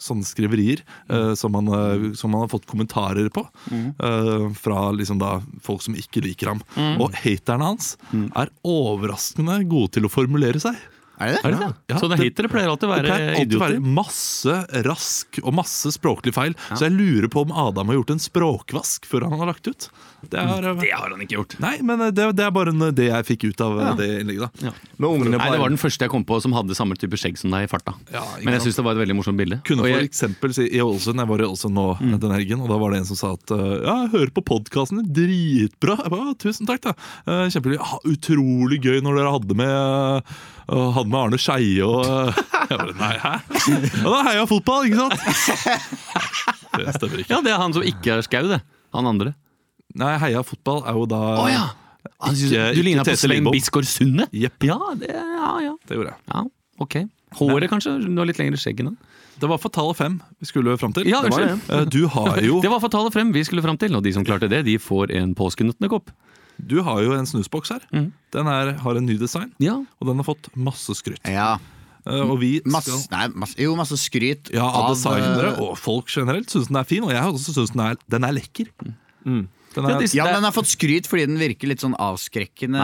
S1: Sånne skriverier eh, som, han, eh, som han har fått kommentarer på. eh, Fra liksom da folk som
S4: Mm.
S1: ikke liker ham. Og haterne hans er overraskende gode til å formulere seg.
S4: Er det det?
S3: Er det det?
S1: Ja.
S3: Så det hatere pleier alltid
S1: Det
S3: å være
S1: pleier alltid å
S3: idioter.
S1: være masse rask og masse språklig feil, så jeg lurer på om Adam har gjort en språkvask før han har lagt ut. Det er, eh,
S3: Det har han ikke gjort.
S1: Nei, men eh, det, det er bare en, det jeg fikk ut av eh, det innlegget. da
S2: Med ungene
S3: Nei,
S2: på
S3: Det var den første jeg kom på som hadde samme type skjegg som deg i farta.
S1: Ja, ikke
S3: Men jeg
S1: sant.
S3: syns det var et veldig morsomt bilde.
S1: Kunne
S3: Og
S1: for
S3: jeg, Mm.
S1: eksempel si i Ålesund, jeg var i Ålesund nå den helgen, og da var det en som sa at eh, ja, jeg hører på podkasten din, dritbra. Jeg bare, «Ja, tusen takk, da. Eh, Kjempegøy. «Ja, Utrolig gøy når dere hadde med eh, og hadde med Arne Skeie og eh, jeg bare, Nei, hæ? Ja, da heia fotball, ikke sant? Det stemmer ikke.
S3: ja, det er han som ikke er skau, det. Han andre.
S1: Nei, heia fotball er jo da
S3: Å ja! Han synes,
S1: Ikke-
S3: du
S1: ikke
S3: ligna på
S1: Tete
S3: Svein
S1: Lindbom.
S3: Bisgaard Sunde.
S1: Jepp.
S3: Ja, det, ja, ja.
S1: Det gjorde jeg.
S3: ja, ok. Håret, kanskje? Du har litt lengre skjegg enn han.
S1: Det var for tallet fem vi skulle fram til.
S3: Ja,
S1: Det var
S3: unnskyld.
S1: det. Eh, Du har jo
S3: Det var for tallet frem vi skulle fram til, og de som klarte det, de får en påskenøttekopp.
S1: Du har jo en snusboks her. Den er, har en ny design,
S3: Ja.
S1: og den har fått masse skryt.
S4: Ja.
S1: Eh, Og vi
S4: Masse,
S1: skal
S4: nei, masse, jo, masse skryt
S1: ja, av designere
S4: eh,
S1: og folk generelt syns den er fin, og jeg også syns den, er- den er lekker. Den
S3: Ja,
S1: er,
S3: disse-
S4: Ja, men
S3: det-
S4: den har fått skryt fordi den virker litt sånn avskrekkende.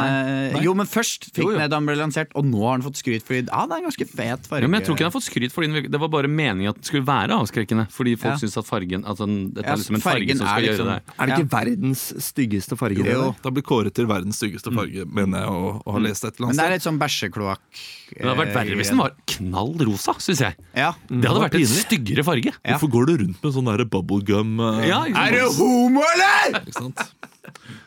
S1: nei.
S4: Jo, men først fikk
S3: Jo, jo.
S4: den da den ble lansert, og nå har den fått skryt fordi ja, det er en ganske fet farge.
S3: Ja, men jeg tror ikke den har fått skryt for den. Det var bare meningen at den skulle være avskrekkende. Fordi folk
S4: Ja.
S3: syns at fargen at den, Dette
S4: Ja,
S3: er liksom en farge
S4: fargen
S3: som
S4: er
S3: skal
S4: liksom-
S3: gjøre det.
S2: Er det ikke verdens styggeste farge? det
S4: Jo.
S2: der?
S1: den blir kåret til verdens styggeste farge, mener jeg å, å ha lest et eller
S4: Men det er
S1: annet sted.
S4: litt sånn bæsjekloakk.
S3: Men
S4: eh,
S3: det hadde vært verre hvis den var knall rosa, syns jeg.
S4: Ja.
S3: Det hadde vært en
S1: pinlig.
S3: styggere farge.
S4: Ja.
S1: Hvorfor går du rundt med sånn der bubblegum? eh,
S3: Ja, ikke sant?
S4: homo, eller?!
S1: ikke sant?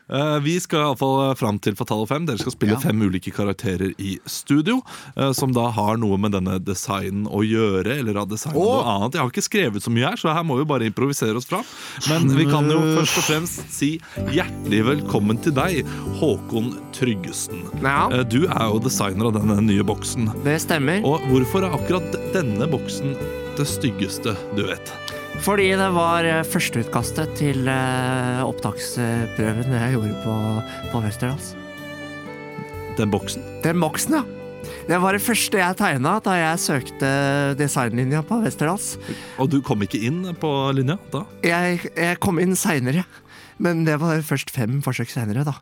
S1: Eh, vi skal iallfall fram til Fatale 5. Dere skal spille
S4: Ja.
S1: fem ulike karakterer i studio. eh, som da har noe med denne designen å gjøre, eller har designet
S4: Åh!
S1: noe annet. Jeg har ikke skrevet så mye her, så her må vi bare improvisere oss fram. Men vi kan jo først og fremst si hjertelig velkommen til deg, Håkon Tryggesen.
S2: Ja.
S1: Eh, du er jo designer av denne nye boksen.
S2: Det stemmer.
S1: Og hvorfor er akkurat denne boksen det styggeste du vet?
S2: Fordi det var eh, førsteutkastet til eh, opptaksprøven jeg gjorde på, på Westerdals.
S1: Den boksen?
S2: Den boksen, ja. Det var det første jeg tegna da jeg søkte designlinja på Westerdals.
S1: Og du kom ikke inn på linja da?
S2: Jeg, jeg kom inn seinere, men det var først fem forsøk seinere, da.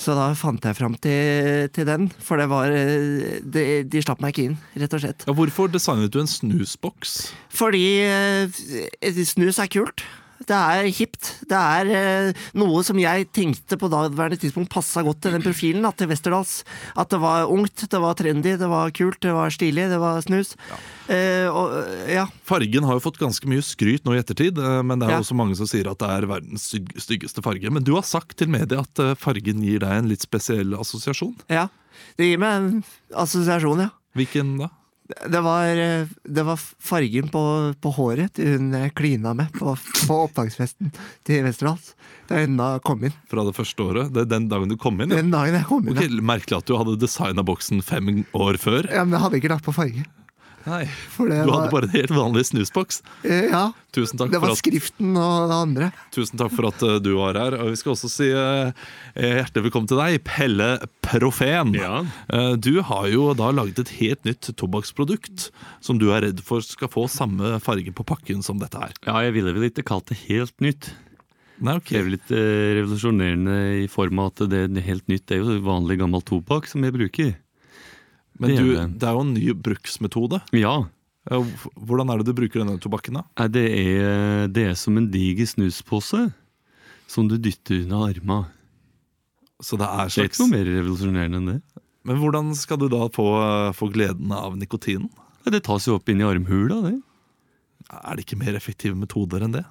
S2: Så da fant jeg fram til, til den, for det var eh, de, de slapp meg ikke inn, rett og slett.
S1: Ja, hvorfor designet du en snusboks?
S2: Fordi eh, snus er kult. Det er hipt. Det er eh, noe som jeg tenkte på daværende tidspunkt passa godt til den profilen da, til Westerdals. At det var ungt, det var trendy, det var kult, det var stilig, det var snus. Eh, og, ja.
S1: Fargen har jo fått ganske mye skryt nå i ettertid, eh, men det er jo
S2: Ja.
S1: også mange som sier at det er verdens styg- styggeste farge. Men du har sagt til media at eh, fargen gir deg en litt spesiell assosiasjon.
S2: ja. Det gir meg en assosiasjon, ja.
S1: Hvilken da?
S2: Det var, eh, det var fargen på, på håret til hun jeg klina med på, på opptaksfesten til Westerdals. Da hun da kom inn.
S1: Fra det første året? Det er den dagen du kom inn? Ja.
S2: Den dagen jeg kom inn.
S1: Ok,
S2: ja.
S1: Merkelig at du hadde designa boksen fem år før.
S2: Ja, men jeg hadde ikke lagt på farge.
S1: Nei,
S2: For det
S1: Du
S2: var,
S1: hadde bare en helt vanlig snusboks.
S2: eh, ja.
S1: Tusen takk
S2: Det
S1: for
S2: var
S1: at
S2: skriften og det andre.
S1: Tusen takk for at eh, du var her. Og vi skal også si eh, hjertelig velkommen til deg, Pelle Profen.
S3: Ja.
S1: Eh, Du har jo da laget et helt nytt tobakksprodukt som du er redd for skal få samme farge på pakken som dette her.
S3: Ja, jeg ville vel ikke kalt det helt nytt.
S1: Nei, ok.
S3: Det er vel litt eh, revolusjonerende i form av at det er helt nytt. Det er jo vanlig gammel tobakk som jeg bruker.
S1: Men
S3: det er
S1: du,
S3: det.
S1: det er jo en ny bruksmetode.
S3: Ja,
S1: Eh, h- Hvordan er det du bruker denne tobakken, da?
S3: Nei, det er, det er som en diger snuspose som du dytter under arma.
S1: Så det er
S3: Det er
S1: slags...
S3: ikke noe mer revolusjonerende enn det.
S1: Men hvordan skal du da få, eh, få gleden av nikotinen?
S3: Nei, Det tas jo opp inn i armhula, det.
S1: Er det ikke mer effektive metoder enn det?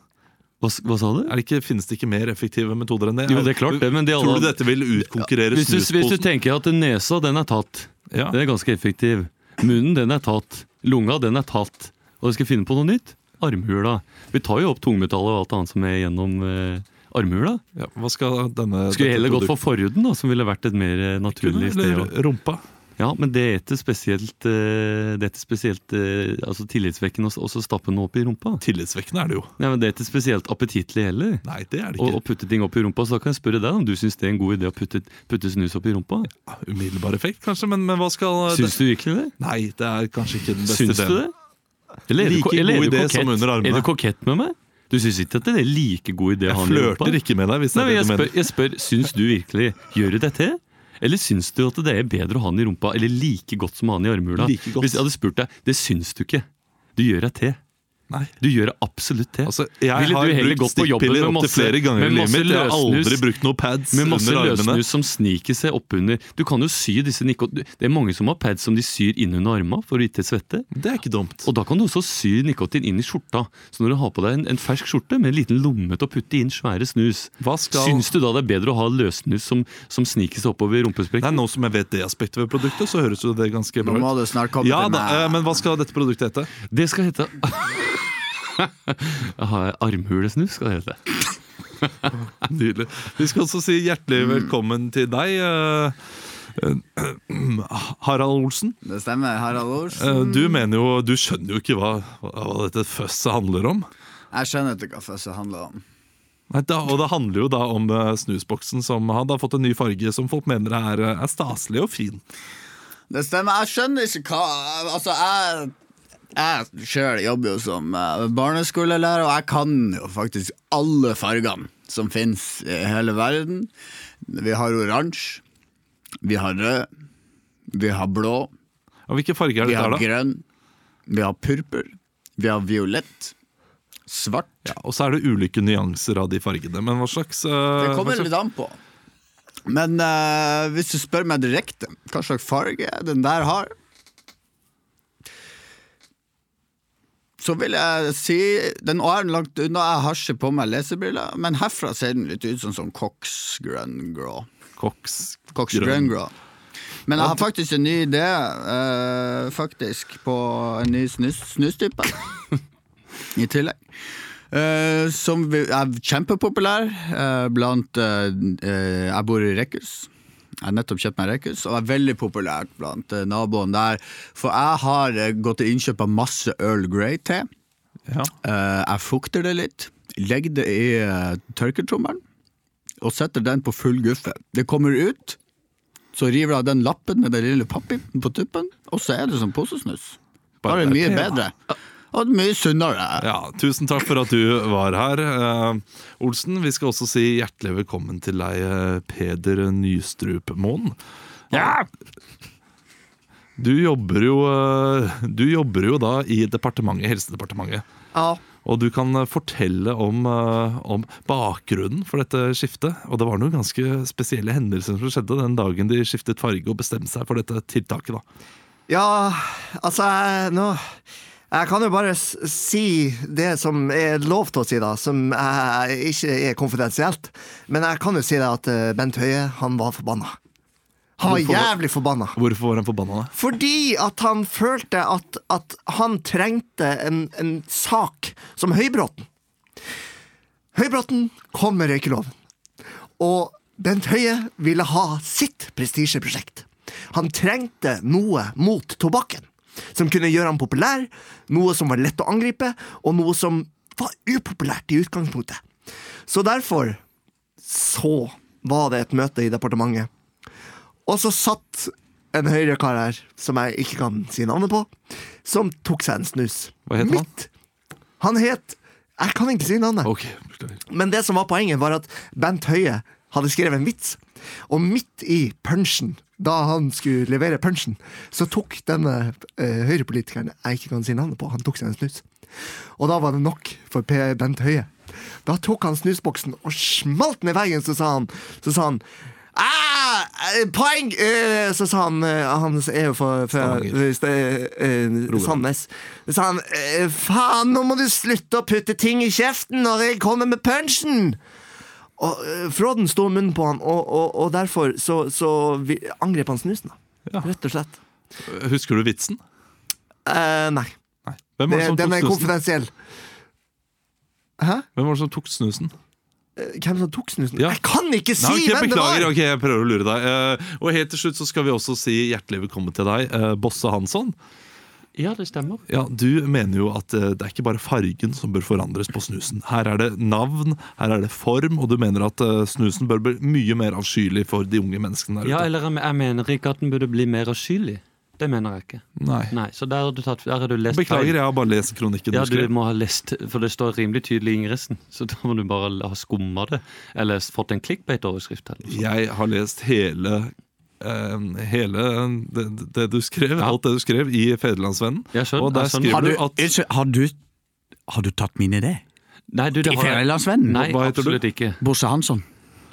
S3: Hva, s- hva sa du?
S1: Er det ikke, finnes det ikke mer effektive metoder enn det?
S3: Jo, det er klart det, men det er
S1: Tror du
S3: alle-
S1: dette vil utkonkurrere
S3: Hvis du, hvis du
S1: snusposen?
S3: tenker at nesa, den er tatt.
S1: Ja.
S3: Den er ganske effektiv. Munnen, den er tatt. Lunga, den er tatt. Og du skal finne på noe nytt? Armhula. Vi tar jo opp tungmetallet og alt annet som er gjennom eh, armhula.
S1: Ja, hva skal denne
S3: Skulle
S1: dette
S3: heller gått
S1: produktet-
S3: for forhuden, da, som ville vært et mer eh, naturlig sted. å-
S1: Eller rumpa.
S3: Ja, men det er ikke spesielt, eh, det er ikke spesielt eh, altså tillitsvekkende å s- også stappe noe opp i rumpa.
S1: Tillitsvekkende er det jo.
S3: Nei, men Det er ikke spesielt appetittlig heller.
S1: Nei, det er det
S3: Å,
S1: ikke.
S3: å putte ting opp i rumpa, så da kan jeg spørre deg om du syns det er en god idé å putte, putte snus opp i rumpa.
S1: Umiddelbar effekt, kanskje, men, men hva skal
S3: Syns du virkelig det?
S1: Nei, det er kanskje ikke den beste
S3: Syns du det? Eller er
S1: Like
S3: du, ko- eller er
S1: god
S3: du
S1: idé
S3: kokett?
S1: som under armene.
S3: Er du kokett med meg? Du syns ikke at det er like god idé å
S1: Jeg
S3: ha den i rumpa?
S1: flørter ikke med deg, hvis
S3: Nei,
S1: det er
S3: men
S1: det
S3: jeg
S1: du
S3: spør,
S1: mener.
S3: jeg spør, syns du virkelig Gjør du dette? Eller syns du at det er bedre å ha den i rumpa eller like godt som å ha den i armhula?
S1: Like godt.
S3: Hvis jeg hadde spurt deg, det syns du ikke. Du gjør deg til.
S1: Nei.
S3: Du gjør deg absolutt til.
S1: Altså, jeg
S3: Ville du
S1: har
S3: heller
S1: brukt
S3: gått på jobben
S1: stikkpiller
S3: med
S1: opptil
S3: masse-
S1: flere ganger i
S3: med
S1: livet
S3: masse
S1: mitt. Jeg har aldri
S3: løssnus-
S1: brukt noe pads
S3: Med masse
S1: under armene.
S3: løssnus som sniker seg oppunder. Du kan jo sy disse nikko... Det er mange som har pads som de syr innunder armene for å ikke svette.
S1: Det er ikke dumt.
S3: Og da kan du også sy nikotin inn i skjorta. Så når du har på deg en, en fersk skjorte med en liten lomme til å putte inn svære snus,
S1: Hva skal-
S3: syns du da det er bedre å ha løssnus som, som sniker seg oppover
S1: Nei,
S3: rumpesprekken?
S1: Nå som jeg vet det aspektet ved produktet, så høres jo det ganske
S4: Nå
S1: bra
S4: må
S1: ut.
S4: du snart komme
S1: Ja
S4: til
S1: da, eh,
S4: meg.
S1: Men hva skal dette produktet hete?
S3: Det skal hete Har jeg Armhulesnus skal det hete.
S1: Nydelig. Vi skal også si hjertelig
S4: Mm.
S1: velkommen til deg, eh, eh, Harald Olsen.
S4: Det stemmer, Harald Ors.
S1: Eh, Du mener jo, du skjønner jo ikke hva, hva dette føsset handler om.
S4: Jeg skjønner ikke hva fødsel handler om.
S1: Nei, da, og det handler jo da om eh, snusboksen som har da fått en ny farge som folk mener er, eh, er staselig og fin.
S4: Det stemmer. Jeg skjønner ikke hva Altså, jeg jeg sjøl jobber jo som eh, barneskolelærer, og jeg kan jo faktisk alle fargene som fins i hele verden. Vi har oransje, vi har rød, vi har blå,
S1: Og hvilke farger er
S4: vi
S1: det
S4: har
S1: der, da?
S4: grønn, vi har purpur, vi har violett, svart.
S1: Ja, og så er det ulike nyanser av de fargene. Men hva slags eh,
S4: Det
S1: hva
S4: kommer
S1: slags-
S4: litt an på. Men eh, hvis du spør meg direkte hva slags farge den der har, så vil jeg si Den er langt unna, jeg har ikke på meg lesebriller, men herfra ser den litt ut som sånn Cox Grønn Grå.
S1: Koks.
S4: Cox
S1: Grønn.
S4: Grønn Grå. Men jeg har faktisk en ny idé, eh, faktisk, på en ny snus, snustype. I tillegg. Eh, som vi- er kjempepopulær eh, blant eh, eh, Jeg bor i Rekhus. Jeg har nettopp kjøpt meg Rekhus, og er veldig populært blant eh, naboene der. For jeg har eh, gått til innkjøp av masse Earl Grey-te.
S1: Ja.
S4: Eh, jeg fukter det litt, legger det i eh, tørketrommelen og setter den på full guffe. Det kommer ut, så river jeg av den lappen med den lille pappbiten på tuppen, og så er det som posesnus. Da
S1: Bare
S4: er det
S1: det
S4: mye
S1: er te,
S4: bedre. Og mye sunnere.
S1: Ja, tusen takk for at du var her, eh, Olsen. Vi skal også si hjertelig velkommen til deg, eh, Peder Nystrup Moen.
S3: Ja!
S1: Du jobber jo, eh, du jobber jo da i departementet, Helsedepartementet.
S2: Ja.
S1: Og du kan eh, fortelle om, eh, om bakgrunnen for dette skiftet. Og det var noen ganske spesielle hendelser som skjedde den dagen de skiftet farge og bestemte seg for dette tiltaket. da.
S2: Ja, altså jeg- nå Jeg kan jo bare s- si det som er lov til å si, da, som jeg, ikke er konfidensielt. Men jeg kan jo si det at eh, Bent Høie, han var forbanna. Han var
S1: Hvorfor var-
S2: jævlig forbanna.
S1: Hvorfor var han forbanna? da?
S2: Fordi at han følte at, at han trengte en, en sak som Høybråten. Høybråten kom med røykeloven, og Bent Høie ville ha sitt prestisjeprosjekt. Han trengte noe mot tobakken, som kunne gjøre ham populær, noe som var lett å angripe, og noe som var upopulært i utgangspunktet. Så derfor så var det et møte i departementet. Og så satt en høyre kar her, som jeg ikke kan si navnet på, som tok seg en snus.
S1: Hva heter han?
S2: han? Han het Jeg kan ikke si navnet.
S1: Ok, beklager.
S2: Men det som var poenget, var at Bent Høie hadde skrevet en vits. Og midt i punchen, da han skulle levere punchen, så tok denne eh, høyrepolitikeren jeg ikke kan si navnet på, han tok seg en snus. Og da var det nok for P. Bent Høie. Da tok han snusboksen og smalt ned veggen, så sa han, så sa han Ah, eh, poeng! Eh, så sa han eh, Han er jo fra, fra
S1: Stavanger.
S2: eh, st- eh, eh, Sandnes. Så sa han eh, faen, nå må du slutte å putte ting i kjeften når jeg kommer med punchen! Og eh, Fråden sto munnen på han, og, og, og derfor så, så vi, angrep han snusen. da
S1: Ja.
S2: Rett og slett.
S1: Husker du vitsen?
S2: Eh, nei.
S1: Nei. Hvem var sånn det som
S2: Det, den er
S1: tok snusen?
S2: konfidensiell. Hæ?
S1: Hvem var det som tok snusen?
S2: Eh, Hvem som tok snusen?
S1: Ja.
S2: Jeg kan ikke si
S1: Nei, ok,
S2: hvem det
S1: beklager,
S2: var!
S1: ok, jeg prøver å lure deg. Eh, og helt til slutt så skal vi også si hjertelig velkommen til deg, eh, Bosse Hansson.
S3: ja, det stemmer.
S1: Ja, Du mener jo at eh, det er ikke bare fargen som bør forandres på snusen. Her er det navn, her er det form, og du mener at eh, snusen bør bli mye mer avskyelig for de unge menneskene der ute.
S3: Ja, eller jeg- jeg mener ikke at den burde bli mer avskyelig. Det mener jeg ikke.
S1: Nei.
S3: Nei, Så der har du, tatt, der har du lest
S1: Beklager,
S3: feil.
S1: jeg har bare lest kronikken
S3: Ja,
S1: du
S3: du
S1: skrev.
S3: må ha lest, for det står rimelig tydelig i ingressen. Så da må du bare ha skumma det. Eller fått en clickbait-overskrift. eller noe sånt.
S1: Jeg har lest hele eh, hele det, det du skrev, alt det du skrev i Federlandsvennen.
S3: Jeg skjønner,
S1: Og der
S3: jeg skjønner.
S1: skriver du at
S4: unnskyld, har du Har du tatt min idé?
S3: Nei, du, det
S4: I
S3: har jeg-
S4: Fjellandsvennen?
S3: Nei,
S1: Hva heter du?
S3: absolutt ikke.
S4: Bosse Hansson.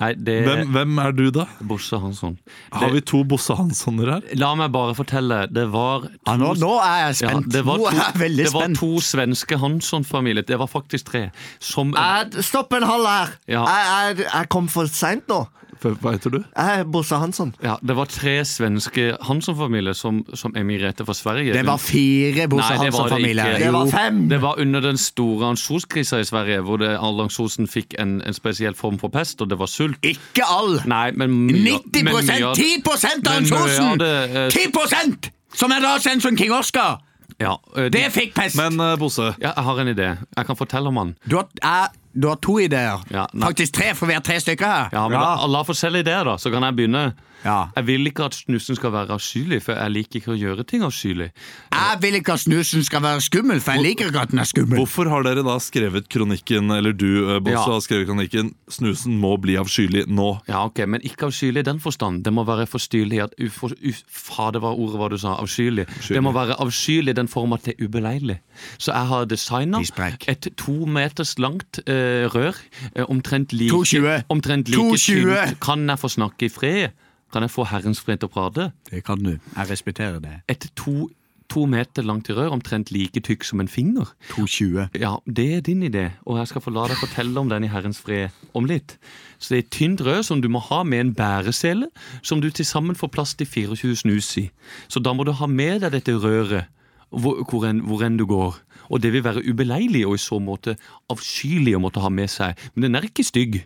S3: Nei, det
S1: hvem, hvem er du, da?
S3: Bosse Hansson.
S1: Har vi to Bosse Hanssoner her?
S3: La meg bare fortelle. Det var to,
S4: Ja, nå, nå er jeg
S3: Ja,
S4: spent.
S3: det var
S4: nå
S3: to,
S4: er jeg veldig
S3: det var
S4: spent.
S3: to svenske Hansson-familier. Det var faktisk tre. Som
S2: Eh, Stopp en hal her!
S3: Ja.
S2: Jeg, jeg, jeg kom for seint nå.
S1: Hva hva heter du?
S2: Jeg er Bosse Hansson.
S3: ja, Det var tre svenske Hansson-familier som, som emigrerte fra Sverige.
S4: Det var fire Bosse
S3: Nei, det var det
S4: Hansson-familier.
S3: ikke.
S2: Det var
S4: Jo.
S2: fem!
S3: Det var under den store ansjonskrisa i Sverige, hvor det- Allan Sosen fikk en, en spesiell form for pest, og det var sult.
S4: Ikke all!
S3: Nei, men mye,
S4: 90
S3: men mye av-
S4: 10 av
S3: Men mye av
S4: Ansosen!
S3: det, eh,
S4: 10 som er da sendt som King Oscar!
S3: Ja, eh,
S4: Det fikk pest!
S1: Men eh, Bosse,
S3: ja, jeg har en idé. Jeg kan fortelle om han.
S4: du, har, eh, du har to ideer.
S3: Ja, nei.
S4: Faktisk tre, for vi er tre stykker her.
S3: Ja, men La, la forskjellige ideer, da, så kan jeg begynne.
S4: Ja.
S3: Jeg vil ikke at snusen skal være avskyelig, for jeg liker ikke å gjøre ting avskyelig.
S4: Jeg vil ikke at snusen skal være skummel, for jeg liker ikke at den er skummel.
S1: hvorfor har dere da skrevet kronikken, eller du, eh, Bosse,
S3: Ja.
S1: har skrevet kronikken 'Snusen må bli avskyelig nå'?
S3: Ja, ok, Men ikke avskyelig i den forstand. Det må være forstyrrelig at ufor, uf, Fader, hva ordet var du sa? Avskyelig. Det må være avskyelig i den form at det er ubeleilig. Så jeg har designa
S4: Isbreik.
S3: et to meters langt eh, rør. eh, omtrent like,
S4: 2,20.
S3: omtrent like
S4: 2,20.
S3: tynt. Kan jeg få snakke i fred? Kan jeg få Herrens fred til å prate?
S4: Det kan du. Jeg respekterer det.
S3: Et to, to meter langt rør, omtrent like tykk som en finger.
S4: 2,20.
S3: Ja, det er din idé, og jeg skal få la deg fortelle om den i Herrens fred om litt. Så det er et tynt rød som du må ha med en bæresele, som du til sammen får plass til 24 snus i. Så da må du ha med deg dette røret hvor, hvor, enn, hvor enn du går. Og det vil være ubeleilig og i så måte avskyelig å måtte ha med seg. Men den er ikke stygg.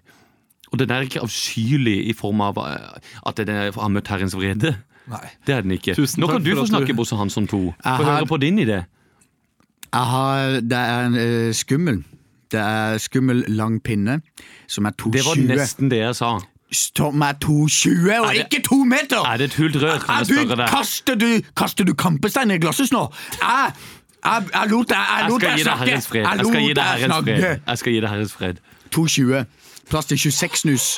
S3: Og den er ikke avskyelig i form av eh, at den er- har møtt Herrens vrede.
S1: Nei.
S3: Det er den ikke.
S1: Tusen
S3: Nå
S1: takk
S3: kan du
S1: for
S3: få
S1: at du-
S3: snakke, Bosse Hansson 2. Få
S4: har-
S3: høre på din idé.
S4: Jeg har, det er en eh, skummel. Det er skummel lang pinne, som er
S3: Det var
S4: 2,20.
S3: nesten det jeg sa.
S4: Som er 2,20, og
S3: det-
S4: ikke to meter! Eh,
S3: Er det et hult rør? Kan jeg spørre
S4: du,
S3: deg?
S4: kaster, du, kaster du kampestein i glasset nå? Jeg, jeg, jeg lot deg jeg
S3: Jeg
S4: lot
S3: skal
S4: deg
S3: gi deg
S4: snakke!
S3: herrens fred. Jeg skal gi deg herrens fred. Jeg skal gi deg herrens fred.
S4: 2,20. Plass til 26 snus.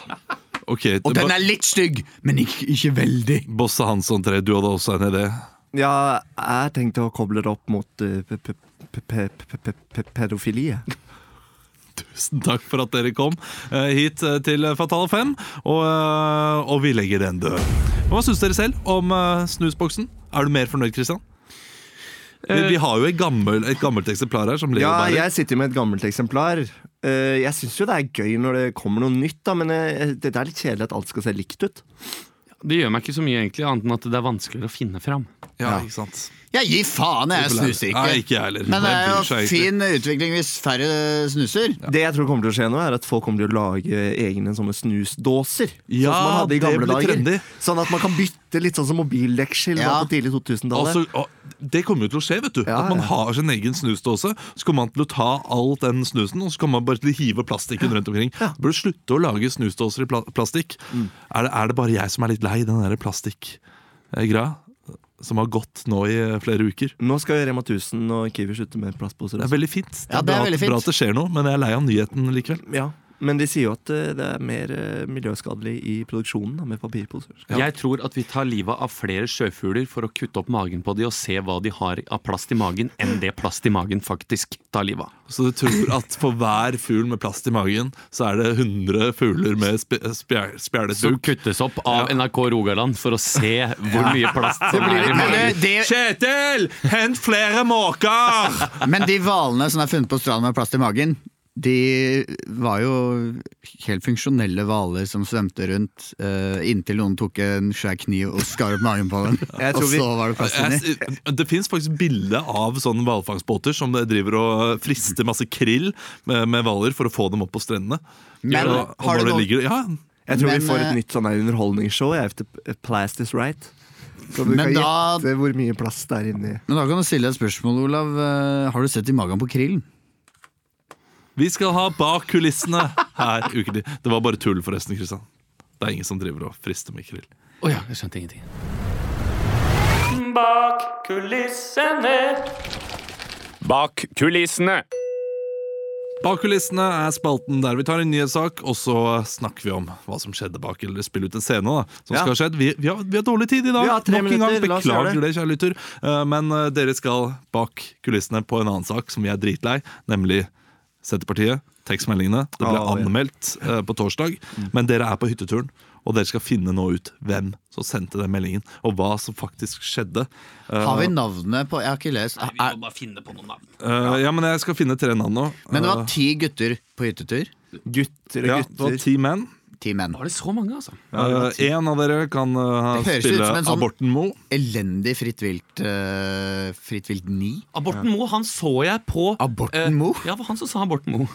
S1: Ok,
S4: Og den
S1: Bo-
S4: er litt stygg, men ikke, ikke veldig.
S1: Bosse Hansson 3, du hadde også en idé.
S2: Ja, jeg tenkte å koble det opp mot eh, pe- pe- pe- pe- pe- pe- pe- pedofilie.
S1: Tusen takk for at dere kom eh, hit eh, til Fatale 5, og, eh, og vi legger den død. Hva syns dere selv om eh, snusboksen? Er du mer fornøyd, Christian? Vi, vi har jo et, gammel, et gammelt eksemplar her som Leo
S2: Ja,
S1: bærer.
S2: jeg sitter med et gammelt eksemplar. Eh, Jeg syns jo det er gøy når det kommer noe nytt, da, men eh, det er litt kjedelig at alt skal se likt ut.
S3: Det gjør meg ikke så mye, egentlig, annet enn at det er vanskeligere å finne fram.
S1: Ja, ikke sant?
S4: Jeg gir faen, jeg snuser
S1: Nei,
S4: ikke.
S1: ikke jeg heller.
S4: Men det
S1: Jeg
S4: er
S1: bryr seg
S4: jo
S1: egentlig.
S4: fin utvikling hvis færre snuser.
S2: Det jeg tror kommer til å skje nå, er at folk kommer til å lage egne sånne snusdåser.
S1: Ja,
S2: sånn som man hadde i
S1: det
S2: gamle
S1: blir
S2: dager.
S1: trendy.
S2: Sånn at man kan bytte litt sånn som mobildekksel
S4: Ja.
S2: var på tidlig 2000-tallet.
S1: Altså, å, det kommer jo til å skje, vet du.
S2: Ja,
S1: At man
S2: ja.
S1: har sin egen snusdåse. Så kommer man til å ta all den snusen og så kommer man bare til å hive plastikken rundt omkring. Burde slutte å lage snusdåser i pla plastikk. Er, det, er det bare jeg som er litt lei den der plastikkgreia? Som har gått nå i eh, flere uker.
S2: Nå skal jo Rema 1000 og Kiwi slutte med plastposer.
S1: Det er
S2: Også.
S1: veldig fint. Det er,
S4: Ja, det er
S1: bra,
S4: veldig
S1: at-
S4: fint.
S1: bra at det skjer noe, men jeg er lei av nyheten likevel.
S2: Ja, men de sier jo at eh, det er mer eh, miljøskadelig i produksjonen da, med papirposer.
S3: Jeg tror at vi tar livet av flere sjøfugler for å kutte opp magen på de og se hva de har av plast i magen, enn det plast i magen faktisk tar livet av.
S1: Så du tror at for hver fugl med plast i magen, så er det 100 fugler med spe- spjæl- spjælet
S3: Som
S1: buk?
S3: kuttes opp av NRK Rogaland for å se hvor mye plast som er i
S4: blir litt- men
S3: magen.
S4: det- det-
S1: Kjetil! Hent flere måker!
S4: Men de hvalene som er funnet på stranden med plast i magen, de var jo helt funksjonelle hvaler som svømte rundt eh, inntil noen tok en svær kniv og skar opp magen på dem.
S2: Jeg
S4: Og
S2: tror vi-
S4: så var det plast inni.
S1: Jeg, det fins faktisk bilde av sånne hvalfangstbåter som driver og frister masse krill med med hvaler for å få dem opp på strendene.
S4: Men
S1: og, og når
S4: har det
S1: det
S4: noen-
S1: ligger, ja,
S2: Jeg tror
S4: Men,
S2: vi får et
S4: eh,
S2: nytt sånn her underholdningsshow jeg, efter Plast is right. Så du
S4: Men
S2: kan
S4: da-
S2: gjette hvor mye plast det er inni.
S4: Men da kan du stille deg et spørsmål, Olav. Eh, Har du sett i magen på krillen?
S1: Vi skal ha bak kulissene her ukentlig. Det var bare tull, forresten. Kristian Det er ingen som driver og frister med krill.
S3: Å ja, jeg skjønte ingenting.
S6: Bak kulissene.
S7: Bak kulissene.
S1: Bak kulissene er spalten der vi tar en nyhetssak, og så snakker vi om hva som skjedde bak, eller spiller ut en scene da, som
S2: Ja.
S1: skal ha skjedd. Vi, vi, har, vi har dårlig tid i dag.
S2: Vi har tre
S1: Nok en gang
S2: minutter, la oss gjøre
S1: beklager det, kjære lytter. Eh, men eh, dere skal bak kulissene på en annen sak som vi er dritlei, nemlig Senterpartiet. Tekstmeldingene. Det ble
S2: Ah,
S5: Å, ja.
S1: anmeldt eh, på torsdag,
S2: Mm.
S1: men dere er på hytteturen. Og dere skal finne nå ut hvem som sendte den meldingen, og hva som faktisk skjedde. Eh,
S4: Har vi navnet på Jeg har ikke lest. Er,
S3: bare finne på noen navn.
S1: eh, ja, men jeg skal finne tre navn nå.
S4: men det
S1: Eh,
S4: var ti gutter på hyttetur.
S2: Gutter og
S1: ja, det var
S2: gutter.
S1: ti menn.
S4: Ti menn.
S3: Var det så mange, altså?
S1: Én Eh, av dere kan eh,
S4: Det høres ut
S1: spille
S4: som en sånn-
S1: Aborten Moe.
S4: Elendig Fritt Vilt eh, Fritt Vilt 9.
S3: Aborten Moe, han så jeg på
S4: Aborten Moe?
S3: Eh, ja, det var han som sa Aborten Moe.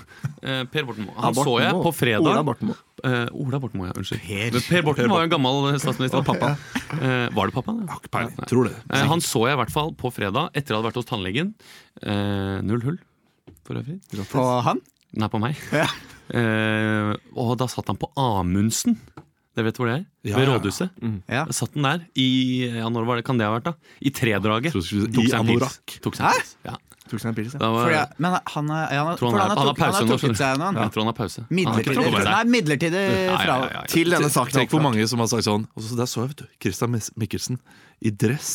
S3: Eh, per Borten Moe. Han
S2: Aborten
S3: så jeg
S2: Moe.
S3: på fredag.
S2: Ola Borten Moe.
S3: Eh, Ola Borten Moe, ja. Unnskyld.
S4: Per.
S3: Men per Borten var jo en gammel statsminister og pappa. Eh, var det pappa? Ja,
S1: Peiling. Tror det.
S3: Eh, han så jeg i hvert fall på fredag etter jeg hadde vært hos tannlegen. Eh, null hull, for øvrig.
S4: På han?
S3: Nei, på meg. Eh, og da satt han på Amundsen. Dere vet hvor det er?
S1: Ja, ja,
S3: Ved
S1: ja.
S3: rådhuset.
S4: Ja.
S3: Da Satt den der i ja, når var det, kan det ha vært da? I tredraget.
S1: Tror du skulle si
S3: Tok
S1: i
S3: seg en pils.
S1: anorakk.
S3: Tok seg en pils. Ja.
S2: Tok seg en pils, ja.
S3: Da var,
S4: Fordi, men han, er- han, er-
S3: tror
S4: for
S3: han, er, han har
S4: tok-
S3: pause
S4: han
S3: nå.
S4: har trukket seg
S3: skjønner
S4: nå.
S3: du. Jeg tror han har pause. Han har ikke
S4: Midlertidig,
S3: trukket
S4: nei,
S3: seg.
S4: midlertidig
S3: Ja, ja, ja,
S4: fravær.
S3: ja, ja.
S2: Til denne saken.
S1: Tenk hvor mange som har sagt sånn. Og så der så jeg, vet du. Christian Mis- Mikkelsen i dress.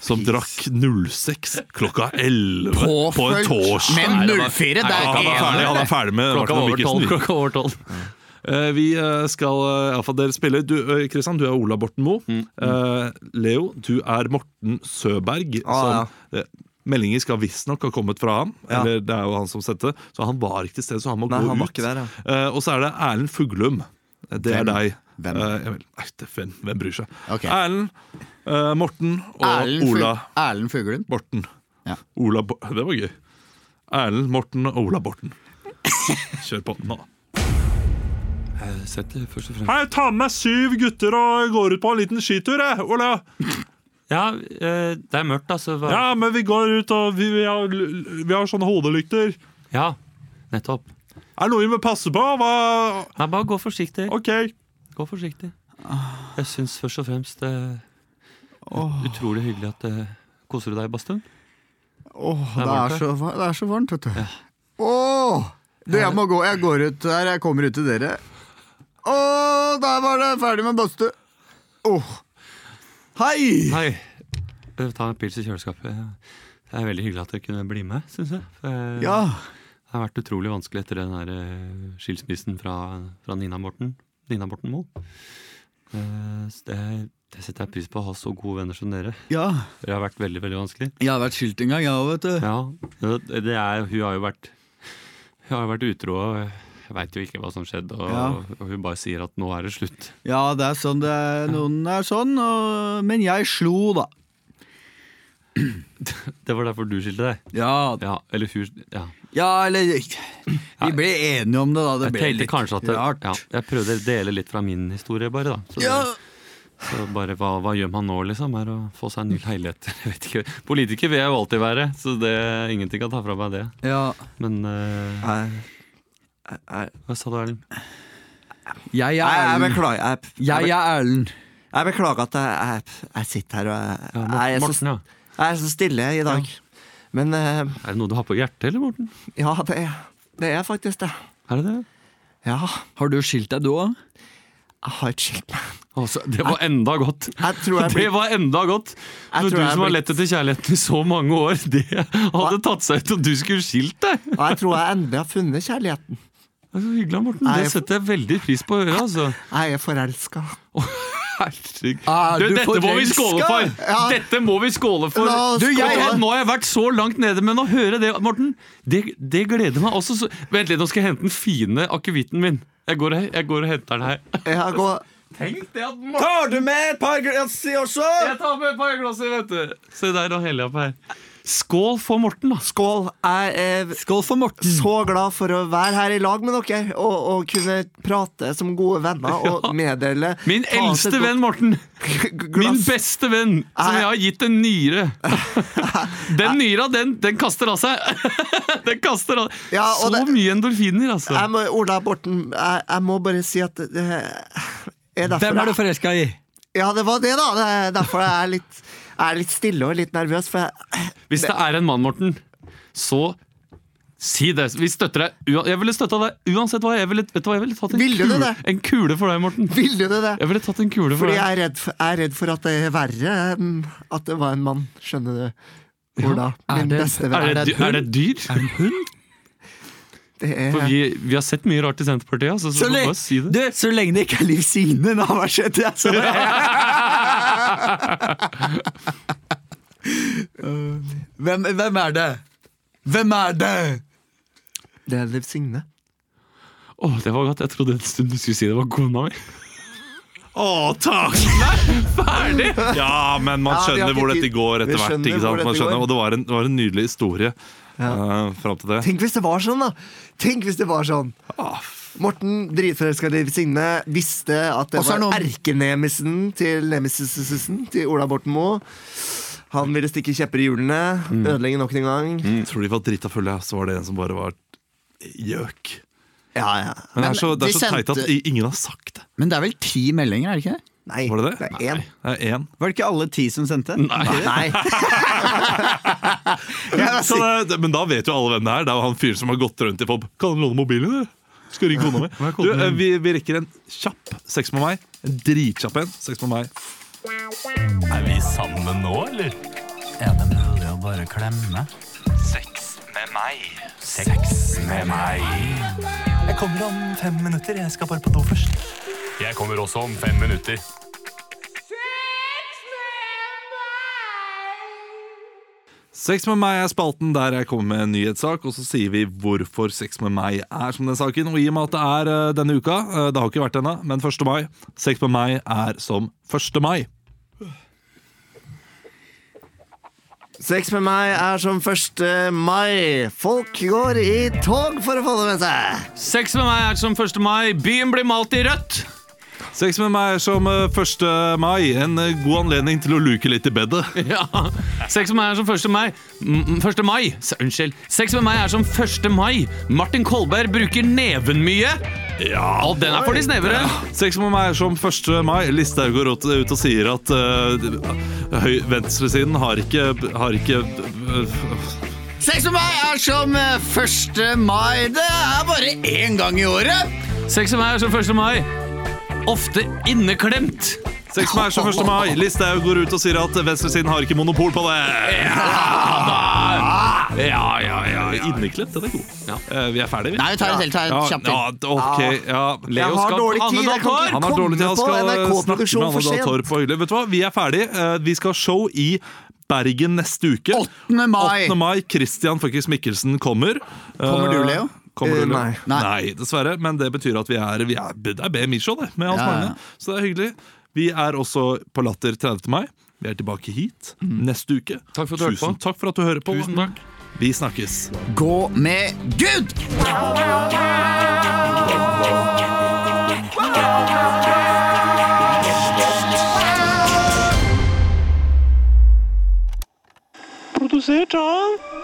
S1: som drakk 06 klokka 11 på en torsdag.
S4: Men
S3: det var-
S4: 04, det
S3: Nei,
S4: er
S1: han, er ferdig, han er ferdig med
S3: Klokka
S1: Martin og
S3: var over
S1: Mikkelsen.
S3: tolv.
S1: vi.
S3: Klokka var over tolv.
S1: Eh, vi eh, skal eh, i alle fall dere spiller. Du, eh, Christian, du er Ola Borten Moe.
S2: Mm.
S1: Eh, Leo, du er Morten Søberg.
S2: Ah,
S1: som, eh, meldinger skal visstnok ha kommet fra ham. Eller det er jo han som sendte, så han var ikke til stede. Så han må
S2: Nei,
S1: gå
S2: han var
S1: ut.
S2: ikke der, ja.
S1: Eh, og så er det Erlend Fuglum. Eh, Det
S4: Hvem?
S1: er deg.
S4: Hvem?
S1: Eh, ja vel, nei, det- hvem, hvem bryr seg?
S4: Ok.
S1: Erlend, eh, Morten og
S4: Erlend Fug-
S1: Ola
S4: Erlend Fuglum.
S1: Borten.
S4: Ja.
S1: Ola Bo det var gøy. Erlend, Morten og Ola Borten. Kjør på nå.
S3: Jeg setter først og fremst
S1: Hei, ta med meg syv gutter og går ut på en liten skitur, jeg, Ola.
S3: Ja, eh, det er mørkt, altså. Hva-
S1: Ja, men vi går ut, og vi, vi, har, vi har sånne hodelykter.
S3: ja. Nettopp.
S1: Er det noe vi må passe på? Hva?
S3: Nei, bare gå forsiktig.
S1: Ok.
S3: Gå forsiktig. Jeg syns først og fremst det er utrolig hyggelig at eh, Koser du deg i badstuen?
S4: Åh,
S3: Det
S4: det
S3: er
S4: er,
S3: varmt,
S4: så, va- det er så varmt, vet du. Åh, du, jeg må gå. Jeg går ut der. Jeg kommer ut til dere. Åh, der var det ferdig med badstue. Åh. Hei!
S3: Nei. eh, Ta en pils i kjøleskapet. Det er veldig hyggelig at dere kunne bli med, syns jeg. For, eh,
S4: Ja.
S3: Det har vært utrolig vanskelig etter den der eh, skilsmissen fra, fra Nina Morten. Nina Morten Moe. Eh, så Det, det setter jeg pris på, å ha så gode venner som dere.
S4: ja.
S3: Det har vært veldig veldig vanskelig.
S4: Jeg har vært skylt en gang, jeg òg, vet du.
S3: Ja, det det er, Hun har jo vært Hun har jo vært utro, og jeg veit jo ikke hva som skjedde. Og,
S4: Ja.
S3: og hun bare sier at nå er det slutt.
S4: Ja, det er sånn det er. Noen er sånn, og, men jeg slo, da.
S3: Det var derfor du skilte deg.
S4: Ja,
S3: Ja, eller hun ja.
S4: ja eller Vi ble enige om det, da. Det
S3: Jeg
S4: ble
S3: tenkte
S4: litt
S3: kanskje at det,
S4: rart.
S3: ja, Jeg prøvde å dele litt fra min historie, bare. da Så,
S4: Ja.
S3: så bare hva, hva gjør man nå, liksom? Er å få seg en ny leilighet? Jeg vet ikke. Politiker vil jeg jo alltid være, så det, ingenting kan ta fra meg det.
S4: ja.
S3: Men eh,
S2: Nei. Nei,
S3: hva sa du, Erlend?
S4: Jeg er
S2: jeg
S4: Erlend.
S2: beklager. Jeg,
S4: Jeg er Erlend.
S2: jeg beklager at jeg, jeg, jeg sitter her og jeg,
S3: Ja,
S2: jeg, er så,
S3: Morten, ja.
S2: jeg er så stille i dag. Men eh,
S3: Er det noe du har på hjertet, eller, Morten?
S2: ja, det, er- det er faktisk det.
S3: Er det det?
S2: Ja,
S4: Har du skilt deg, du òg?
S2: jeg har ikke skilt meg.
S3: Altså, det var enda godt.
S2: Jeg tror jeg
S3: Det
S2: blir
S3: var enda godt!
S2: Jeg
S3: Men du
S2: tror jeg
S3: som har
S2: blir-
S3: lett etter kjærligheten i så mange år, det hadde tatt seg ut om du skulle skilt deg!
S2: Og jeg tror jeg endelig har funnet kjærligheten.
S3: Det er så hyggelig, Morten.
S2: Nei,
S3: Det
S2: jeg-
S3: setter jeg veldig pris på å høre, altså.
S2: Jeg er forelska.
S3: Herregud.
S2: Ah,
S4: Er
S3: Du,
S4: du
S3: dette må vi
S4: forelska?
S3: skåle for!
S2: Ja.
S3: Dette må vi skåle for!
S2: La oss
S3: Du, jeg,
S2: skåle.
S3: vet du, nå har jeg vært så langt nede, men å høre det, Morten, det, det gleder meg også. Så, vent litt, nå skal jeg hente den fine akevitten min. Jeg går, og- jeg går og henter den her.
S2: Jeg går
S3: Tenk det at Morten
S5: Tar du med et par glass i også?
S3: Jeg tar med et par glass, vet du. Se der, nå heller jeg på her. Skål for Morten, da.
S2: Skål. Jeg er
S4: Skål for Morten.
S2: så glad for å være her i lag med dere og, og kunne prate som gode venner og
S3: Ja.
S2: meddele
S3: Min
S2: Ta oss et
S3: eldste venn Morten.
S2: godt
S3: Min
S2: glass.
S3: beste venn, som
S2: Nei.
S3: jeg har gitt en nyre. Den nyra, den, den kaster av seg. Den kaster av
S2: Ja,
S3: Så
S2: og det-
S3: mye endorfiner, altså.
S2: Jeg må, Ola Borten, jeg, jeg må bare si at det, det er derfor
S4: Hvem er du
S2: jeg,
S4: forelska i?
S2: Ja, det var det, da. Det er derfor jeg er litt, jeg er litt stille og litt nervøs. For jeg,
S3: Hvis det er en mann, Morten, så Si det. Vi støtter deg. Ua- Jeg ville støtta deg uansett hva. Jeg ville, vet du hva? Jeg ville tatt en,
S5: Ville du
S3: kule,
S5: det?
S3: en kule for deg, Morten.
S5: Ville du det?
S3: Jeg ville tatt en kule for
S5: Fordi
S3: deg.
S5: jeg er redd, f- jeg er redd for at det er verre mm, at det var en mann. Skjønner du? Hvor da? Min
S4: det-
S5: beste venn.
S3: Er det,
S4: Er det
S3: dy-
S4: et
S3: er det et dyr?
S5: Det er,
S3: For vi, vi har sett mye rart i Senterpartiet. Altså, så,
S4: Så,
S3: du må
S4: lenge,
S3: bare si
S4: du,
S3: det.
S4: så lenge det ikke er Liv Signe, da, hva skjedde? Jeg så det. hvem, hvem er det? Hvem er det?
S5: det er Liv Signe.
S3: Å, det var godt. Jeg trodde en stund du skulle si det var kona mi.
S1: Å, takk! Nei, ferdig! Ja, men man
S5: Ja, vi har
S1: skjønner
S5: ikke
S1: hvor dette
S5: tid.
S1: går
S5: Vi
S1: etter hvert.
S5: skjønner
S1: ikke
S5: hvor
S1: sant? Man
S5: dette går.
S1: skjønner, og det var en, det var en nydelig historie eh, fram til det.
S5: Tenk hvis det var sånn, da! Tenk hvis det var sånn. Morten, dritforelska i Liv Signe, visste at det
S4: Og så er
S5: var
S4: noen-
S5: erkenemisen til nemesisen til Ola Borten Moe. Han ville stikke kjepper i hjulene, ødelegge nok en gang.
S1: Jeg tror de var drita fulle, ja. så var det en som bare var gjøk.
S5: Ja, ja.
S1: Men det
S4: Men
S1: er så, det
S4: de
S1: er så teit at
S4: sendte-
S1: i- ingen har sagt det.
S4: Men det er vel ti meldinger, er det ikke det?
S5: Nei,
S1: Var det det?
S5: er
S1: Det
S5: én.
S1: er én.
S4: Var det ikke alle ti som sendte?
S5: Nei.
S1: Så det, det- men da vet jo alle hvem det er. Det er jo han fyren som har gått rundt i pub. Kan du låne mobilen, du? Skal ringe kona mi. Du, eh, vi, vi rekker en kjapp seks med meg. En dritkjapp en. Seks med meg.
S7: Er vi sammen nå, eller?
S8: Er det mulig å bare klemme?
S7: Sex med meg. Sex med meg.
S8: Jeg kommer om fem minutter. Jeg skal bare på do først.
S7: Jeg kommer også om fem minutter.
S1: Sex med meg er spalten der jeg kommer med en nyhetssak, og så sier vi hvorfor sex med meg er som den saken. Og i og med at det er eh, denne uka, eh, det har ikke vært ennå, men 1. mai. Sex med meg er som 1. mai.
S2: Sex med meg er som 1. mai. Folk går i tog for å få det med seg.
S3: Sex med meg er som 1. mai. Byen blir malt i rødt.
S1: Sex med meg er som eh, 1. mai. En eh, god anledning til å luke litt i bedet.
S3: Ja. Sex med meg er som 1. mai. Mm, 1. mai. S- Unnskyld. Sex med meg er som 1. mai. Martin Kolberg bruker neven mye. Ja, og den er for de snevere.
S1: Sex med meg er som 1. mai. Listhaug går ut, ut og sier at eh, høy, venstresiden har ikke, har ikke eh,
S4: Sex med meg er som eh, 1. mai. Det er bare én gang i året.
S3: Sex med meg er som 1. mai. Ofte inneklemt.
S1: Sex med meg er som 1. mai. Listhaug går ut og sier at venstresiden har ikke monopol på det.
S3: Ja, ja, ja.
S1: Inneklemt, den er god.
S3: Ja.
S1: Eh, vi er ferdige, vi.
S4: Nei, vi tar en til. Ta en kjapp til.
S1: ja, ok, ja.
S3: Leo
S5: Jeg har
S3: skal
S5: dårlig
S3: på
S5: tid, jeg kan
S3: Anne
S5: ikke-
S3: Dahl
S1: Han har dårlig tid. Han skal
S5: Komme
S1: eh,
S5: på NRK
S1: snakke med
S5: produksjon
S1: Anne
S5: for
S1: Dahl
S5: sent.
S1: Torp og Hylle. Vet du hva, vi er ferdige. Eh, Vi skal ha show i Bergen neste uke.
S4: 8. mai.
S1: 8. mai. Christian Fuckings Mikkelsen kommer.
S4: Kommer du,
S1: Eh,
S4: Leo?
S1: Kommer du,
S5: Eh,
S1: Leo?
S5: nei.
S1: nei. dessverre. Men det betyr at vi er, vi er Det er BMI-show, det, med Hans
S4: Ja, ja.
S1: Magne. Så det er hyggelig. Vi er også på Latter 30. mai. Vi er tilbake hit neste uke.
S3: Mm. Takk for at du hørte
S1: Tusen
S3: på.
S1: takk for at du hører på.
S3: Tusen takk.
S1: Vi snakkes.
S4: Gå med Gud!
S6: Produsert av